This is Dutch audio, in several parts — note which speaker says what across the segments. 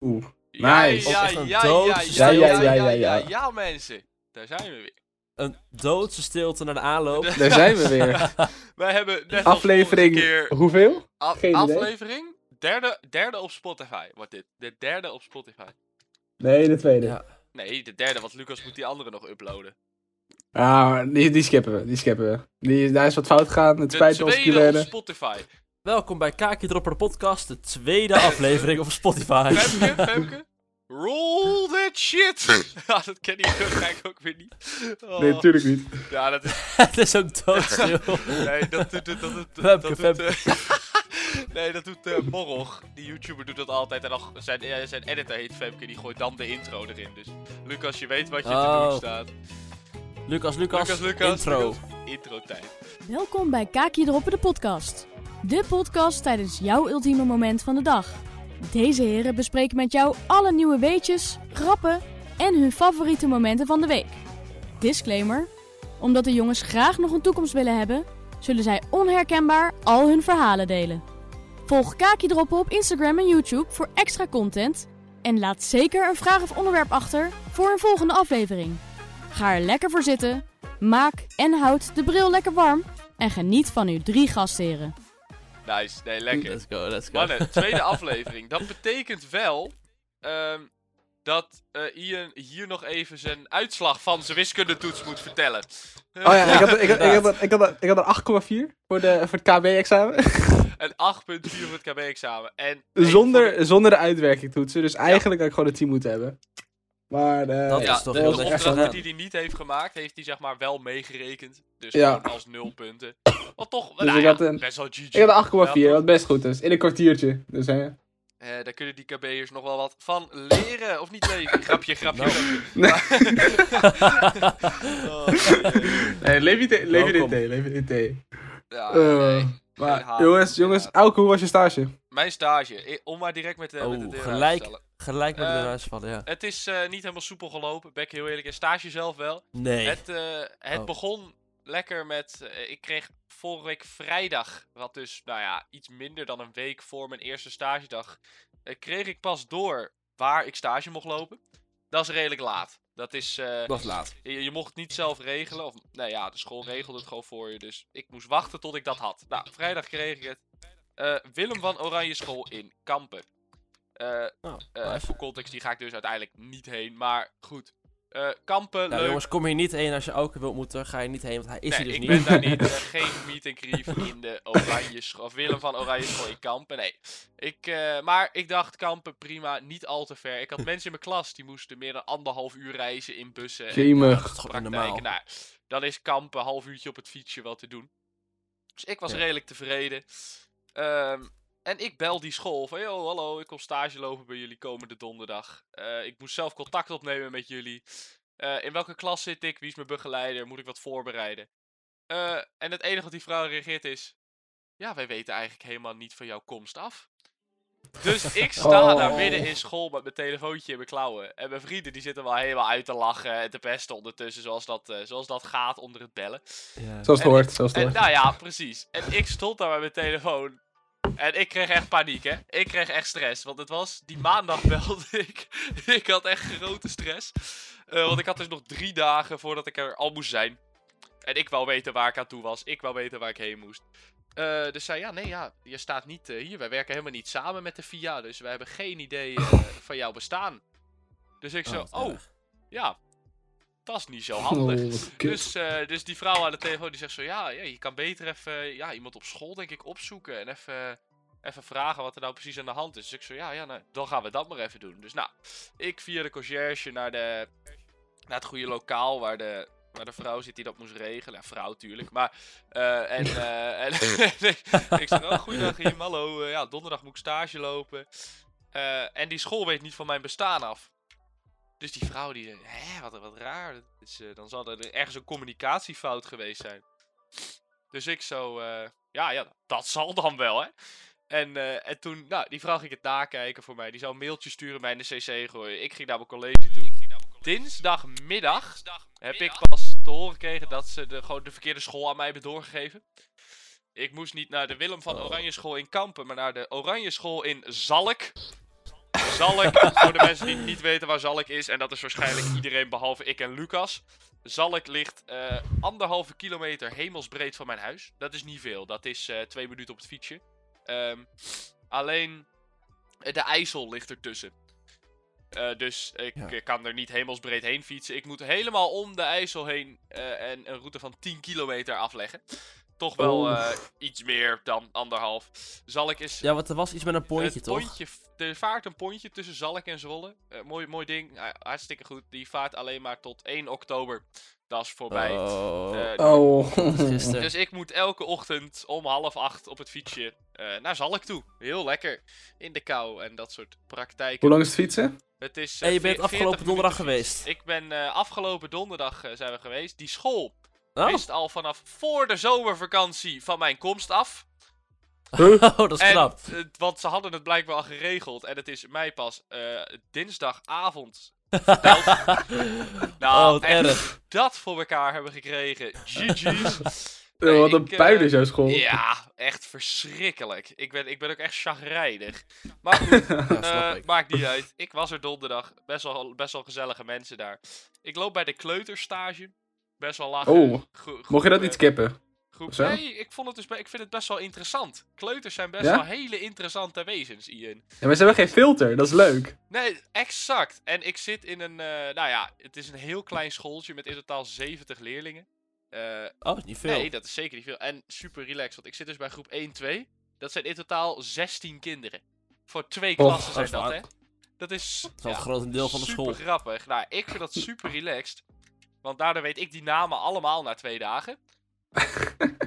Speaker 1: Oeh.
Speaker 2: Ja,
Speaker 1: Nice.
Speaker 2: Ja,
Speaker 3: Echt een
Speaker 2: ja, ja,
Speaker 3: doodse
Speaker 2: ja, ja,
Speaker 1: stilte.
Speaker 2: ja, ja, ja,
Speaker 1: Ja, ja, ja.
Speaker 2: Ja, mensen. Daar zijn we weer.
Speaker 3: Een doodse stilte naar de aanloop.
Speaker 2: De-
Speaker 1: Daar zijn we weer.
Speaker 2: Wij hebben net als
Speaker 1: Aflevering
Speaker 2: vorige keer
Speaker 1: hoeveel?
Speaker 2: af-
Speaker 1: geen idee.
Speaker 2: aflevering. Derde, derde op Spotify. Wat dit? De derde op Spotify.
Speaker 1: Nee, de tweede.
Speaker 3: Ja.
Speaker 2: Nee, de derde, want Lucas moet die andere nog uploaden.
Speaker 1: Ah, maar die, die skippen we. Die skippen we. Die, daar is wat fout gegaan. Het
Speaker 2: De
Speaker 1: spijt me, onze
Speaker 2: tweede op
Speaker 1: culeren.
Speaker 2: Spotify.
Speaker 3: Welkom bij Kaakje Dropper de podcast, de tweede aflevering op Spotify.
Speaker 2: Femke, Femke. Roll that shit! ja, dat ken ik ook, eigenlijk ook weer niet. Oh.
Speaker 1: Nee, natuurlijk niet.
Speaker 2: Ja, dat is...
Speaker 3: Het is ook doodstil.
Speaker 2: Nee, dat doet... Dat, doet- dat,
Speaker 3: Femke,
Speaker 2: doet
Speaker 3: Femke.
Speaker 2: eh, nee, dat doet eh Morrog. Die YouTuber doet dat altijd. En nog zijn, eh, zijn editor heet Femke. Die gooit dan de intro erin. Dus Lucas, je weet wat je te
Speaker 3: Oh.
Speaker 2: doen staat.
Speaker 3: Lucas, Lucas,
Speaker 2: Lucas, Lucas.
Speaker 3: intro.
Speaker 2: Lucas, intro tijd.
Speaker 4: Welkom bij Kaakje Droppen, de podcast. De podcast tijdens jouw ultieme moment van de dag. Deze heren bespreken met jou alle nieuwe weetjes, grappen en hun favoriete momenten van de week. Disclaimer: omdat de jongens graag nog een toekomst willen hebben, zullen zij onherkenbaar al hun verhalen delen. Volg Kaakje Droppen op Instagram en YouTube voor extra content. En laat zeker een vraag of onderwerp achter voor een volgende aflevering. Ga er lekker voor zitten, maak en houd de bril lekker warm en geniet van uw drie gastheren.
Speaker 2: Nice, nee, lekker.
Speaker 3: Let's go, let's go.
Speaker 2: Mannen, tweede aflevering. Dat betekent wel ehm, dat eh, Ian hier nog even zijn uitslag van zijn wiskundetoets moet vertellen.
Speaker 1: Oh ja, ik had, ik had, ik
Speaker 3: inderdaad.
Speaker 1: had, ik had, ik had een 8,4 voor, de- voor het KB-examen.
Speaker 2: Een 8.4 voor het KB-examen. En één voor
Speaker 1: Zonder, zonder de uitwerking toetsen. Dus eigenlijk had ik gewoon een 10 moeten hebben. Maar eh,
Speaker 3: Dat
Speaker 2: de-
Speaker 3: is
Speaker 2: Ja,
Speaker 3: toch
Speaker 2: de
Speaker 1: heel erg
Speaker 2: opdrachten
Speaker 1: zonde.
Speaker 2: die hij niet heeft gemaakt, heeft hij zeg maar wel meegerekend. Dus
Speaker 1: Ja. Dus
Speaker 2: gewoon als nul punten. Wat toch, nou
Speaker 1: ik
Speaker 2: ja,
Speaker 1: had een-
Speaker 2: best wel GG.
Speaker 1: ik had een 8,4,
Speaker 2: Wel,
Speaker 1: wat best goed is. In een kwartiertje. Dus hè.
Speaker 2: eh, daar kunnen die KB'ers nog wel wat van leren, of niet leven? Grapje, grapje. grapje.
Speaker 1: Nou. Nee.
Speaker 2: Oh, nee.
Speaker 1: Nee, leef niet in- leef niet in
Speaker 3: Welkom.
Speaker 1: thee, leef niet in thee.
Speaker 2: Ja,
Speaker 1: Eh,
Speaker 2: nee. Geen
Speaker 1: Maar
Speaker 2: haat,
Speaker 1: jongens, jongens,
Speaker 2: inderdaad.
Speaker 1: Elke, hoe was je stage?
Speaker 2: Mijn stage, eh, om maar direct met de, met de
Speaker 3: Oh,
Speaker 2: deur aan te
Speaker 3: gelijk.
Speaker 2: stellen.
Speaker 3: Gelijk met de
Speaker 2: Eh,
Speaker 3: huis vallen, ja.
Speaker 2: Het is eh, niet helemaal soepel gelopen, ben ik heel eerlijk. In stage zelf wel.
Speaker 3: Nee.
Speaker 2: Het, eh, het
Speaker 3: Oh.
Speaker 2: begon lekker met. eh, ik kreeg vorige week vrijdag, wat dus, nou ja, iets minder dan een week voor mijn eerste stagedag. eh, kreeg ik pas door waar ik stage mocht lopen. Dat is redelijk laat. Dat is. eh,
Speaker 3: was laat.
Speaker 2: je, je mocht het niet zelf regelen. Of, nou ja, de school regelde het gewoon voor je. Dus ik moest wachten tot ik dat had. Nou, vrijdag kreeg ik het. Eh, Willem van Oranje School in Kampen. Eh,
Speaker 3: Oh,
Speaker 2: eh,
Speaker 3: nice.
Speaker 2: voor context, die ga ik dus uiteindelijk niet heen. Maar goed. Eh, Kampen,
Speaker 3: Nou,
Speaker 2: leuk.
Speaker 3: jongens, kom hier niet heen als je Auken wil ontmoeten. Ga je niet heen, want hij is
Speaker 2: nee,
Speaker 3: hier dus
Speaker 2: ik ben
Speaker 3: niet.
Speaker 2: daar niet. eh, geen meet and grief in de Oranje School. Of Willem van Oranje School in Kampen. Nee. Ik, eh, maar ik dacht, Kampen, prima. Niet al te ver. Ik had mensen in mijn klas die moesten meer dan anderhalf uur reizen in bussen. en
Speaker 1: Jemig.
Speaker 3: Dat is toch
Speaker 2: praktijk.
Speaker 3: normaal.
Speaker 2: Nou, dan is kampen een half uurtje op het fietsje wel te doen. Dus ik was
Speaker 3: Ja.
Speaker 2: redelijk tevreden. Ehm, en ik bel die school van, yo, hallo, ik kom stage lopen bij jullie komende donderdag. Eh, ik moest zelf contact opnemen met jullie. Eh, in welke klas zit ik? Wie is mijn begeleider? Moet ik wat voorbereiden? Eh, en het enige wat die vrouw reageert is... Ja, wij weten eigenlijk helemaal niet van jouw komst af. Dus ik sta daar
Speaker 1: Oh.
Speaker 2: midden in school met mijn telefoontje in mijn klauwen. En mijn vrienden die zitten wel helemaal uit te lachen en te pesten ondertussen, zoals dat, eh, zoals dat gaat onder het bellen.
Speaker 3: Ja.
Speaker 1: Zoals het
Speaker 2: En-
Speaker 1: hoort, zoals het
Speaker 2: En
Speaker 1: hoort.
Speaker 2: nou ja, precies. En ik stond daar met mijn telefoon. En ik kreeg echt paniek, hè. Ik kreeg echt stress. Want het was... Die maandag belde ik. ik had echt grote stress. Eh, want ik had dus nog drie dagen voordat ik er al moest zijn. En ik wou weten waar ik aan toe was. Ik wou weten waar ik heen moest. Eh, dus zei, ja, nee, ja, je staat niet eh, hier. Wij werken helemaal niet samen met de VIA. Dus wij hebben geen idee eh, van jouw bestaan. Dus ik zo,
Speaker 3: wat
Speaker 2: oh,
Speaker 3: erg.
Speaker 2: ja. Dat is niet zo handig.
Speaker 1: Oh, wat kut.
Speaker 2: Dus, eh, dus die vrouw aan de telefoon die zegt zo, ja, ja je kan beter even eh, ja, iemand op school denk ik opzoeken en even, even vragen wat er nou precies aan de hand is. Dus ik zo, ja, ja nou, dan gaan we dat maar even doen. Dus nou, ik via de conciërge naar, de, naar het goede lokaal waar de, waar de vrouw zit die dat moest regelen. Ja, vrouw tuurlijk, maar... eh, en eh, en ik zeg, oh, goeiedag Jim, hallo, eh, ja, donderdag moet ik stage lopen. Eh, en die school weet niet van mijn bestaan af. Dus die vrouw die zei, hè, wat, wat raar. Dat is, eh, dan zal er ergens een communicatiefout geweest zijn. Dus ik zo, eh, ja, ja, dat zal dan wel, hè. En, eh, en toen, nou, die vrouw ging het nakijken voor mij. Die zou een mailtje sturen, mij in de cc gooien. Ik ging naar mijn college toe. Dinsdagmiddag heb ik pas te horen gekregen dat ze de, gewoon de verkeerde school aan mij hebben doorgegeven. Ik moest niet naar de Willem van Oranje School in Kampen, maar naar de Oranje School in Zalk. Zalk, voor de mensen die niet weten waar Zalk is, en dat is waarschijnlijk iedereen behalve ik en Lucas. Zalk ligt eh, anderhalve kilometer hemelsbreed van mijn huis. Dat is niet veel, dat is eh, twee minuten op het fietsje. Ehm, alleen eh, de IJssel ligt ertussen. Eh, dus ik
Speaker 3: Ja.
Speaker 2: eh, kan er niet hemelsbreed heen fietsen. Ik moet helemaal om de IJssel heen eh, en een route van 10 kilometer afleggen. Toch wel
Speaker 1: Oeh.
Speaker 2: eh, iets meer dan anderhalf. Zalk is
Speaker 3: Ja, want er was iets met een pontje,
Speaker 2: het
Speaker 3: toch?
Speaker 2: pontje- er vaart een pontje tussen Zalk en Zwolle. Eh, mooi, mooi ding, eh, hartstikke goed. Die vaart alleen maar tot 1 oktober. Dat is voorbij.
Speaker 3: Oh,
Speaker 2: Eh,
Speaker 1: Oh.
Speaker 3: gisteren.
Speaker 2: dus ik moet elke ochtend om half acht op het fietsje eh, naar Zalk toe. Heel lekker. In de kou en dat soort praktijken.
Speaker 1: Hoe lang is het fietsen?
Speaker 2: Het is, eh,
Speaker 3: en je
Speaker 2: ve-
Speaker 3: bent
Speaker 2: 40
Speaker 3: afgelopen
Speaker 2: minuten
Speaker 3: donderdag
Speaker 2: fiets.
Speaker 3: geweest.
Speaker 2: Ik ben eh, afgelopen donderdag eh, zijn we geweest. Die school
Speaker 3: Oh,
Speaker 2: wist al vanaf voor de zomervakantie van mijn komst af.
Speaker 3: Oh, dat is knap.
Speaker 2: En, eh, want ze hadden het blijkbaar al geregeld. En het is mij pas eh, dinsdagavond verteld. nou,
Speaker 3: oh, wat
Speaker 2: echt
Speaker 3: erg.
Speaker 2: dat voor elkaar hebben gekregen. GG's.
Speaker 1: Eh,
Speaker 2: Nee,
Speaker 1: Wat een
Speaker 2: ik, eh,
Speaker 1: puin is jouw school.
Speaker 2: Ja, echt verschrikkelijk. Ik ben, ik ben ook echt chagrijnig. Maar goed,
Speaker 3: Ja, snap
Speaker 2: eh,
Speaker 3: ik.
Speaker 2: maakt niet uit. Ik was er donderdag. Best wel, best wel gezellige mensen daar. Ik loop bij de kleuterstage. Best wel lachen.
Speaker 1: Oh,
Speaker 2: Gro-
Speaker 1: Mocht je dat
Speaker 2: groepen-
Speaker 1: niet skippen?
Speaker 2: groep.
Speaker 1: Of zo?
Speaker 2: Nee, ik, vond het dus, be- ik vind het best wel interessant. Kleuters zijn best
Speaker 1: Ja?
Speaker 2: wel hele interessante wezens, Ian.
Speaker 1: Ja, maar ze hebben geen filter, dat is leuk.
Speaker 2: Nee, exact. En ik zit in een, eh, nou ja, het is een heel klein schooltje met in totaal 70 leerlingen. Eh,
Speaker 3: Oh, dat is niet veel.
Speaker 2: nee, dat is zeker niet veel. En super relaxed, want ik zit dus bij groep 1, 2. Dat zijn in totaal 16 kinderen. Voor twee
Speaker 1: Och,
Speaker 2: klassen
Speaker 3: dat
Speaker 2: zijn
Speaker 3: is
Speaker 2: dat,
Speaker 3: waar.
Speaker 2: hè? Dat is...
Speaker 3: dat is wel het grote deel van de
Speaker 2: super
Speaker 3: school.
Speaker 2: grappig. Nou, ik vind dat super relaxed. Want daardoor weet ik die namen allemaal na twee dagen.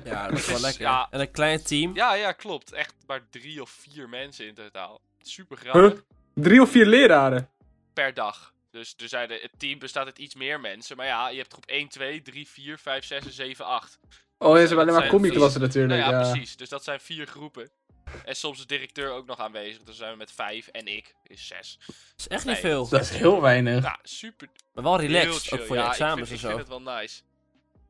Speaker 3: Ja, dat is wel
Speaker 2: is-
Speaker 3: lekker.
Speaker 2: ja.
Speaker 3: En een klein team.
Speaker 2: Ja, ja, klopt. Echt maar drie of vier mensen in totaal. Super grappig.
Speaker 1: Huh? Drie of vier leraren.
Speaker 2: Per dag. Dus er zijn er- het team bestaat uit iets meer mensen. Maar ja, je hebt groep 1, 2, 3, 4, 5, 6 en 7, 8.
Speaker 1: Oh, ja, ze hebben alleen maar
Speaker 2: Zijn
Speaker 1: combi-klassen
Speaker 2: Nou
Speaker 1: natuurlijk.
Speaker 2: ja,
Speaker 1: ja.
Speaker 2: precies. Dus dat zijn vier groepen. En soms de directeur ook nog aanwezig. Dus dan zijn we met vijf en ik is zes.
Speaker 3: Dat is echt niet
Speaker 2: Nee.
Speaker 3: veel.
Speaker 1: Dat is heel weinig.
Speaker 2: Ja, super.
Speaker 3: Maar wel
Speaker 2: heel
Speaker 3: relaxed,
Speaker 2: chill.
Speaker 3: ook voor
Speaker 2: Ja,
Speaker 3: je
Speaker 2: ik
Speaker 3: examens
Speaker 2: vind-
Speaker 3: en zo.
Speaker 2: Ik vind het wel nice.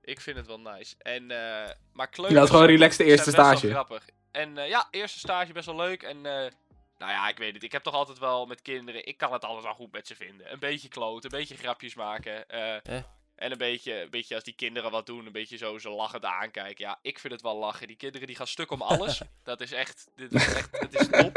Speaker 2: Ik vind het wel nice. En, eh maar
Speaker 1: Ja, dat is gewoon relaxed de eerste
Speaker 2: zijn best
Speaker 1: stage.
Speaker 2: Wel grappig. En eh, ja, eerste stage best wel leuk. En eh, nou ja, ik weet het. Ik heb toch altijd wel met kinderen. Ik kan het altijd wel goed met ze vinden. Een beetje kloot, een beetje grapjes maken. eh,
Speaker 3: Eh.
Speaker 2: En een beetje, een beetje als die kinderen wat doen, een beetje zo ze lachend aankijken. Ja, ik vind het wel lachen. Die kinderen die gaan stuk om alles. dat is echt, dit is echt, het is top.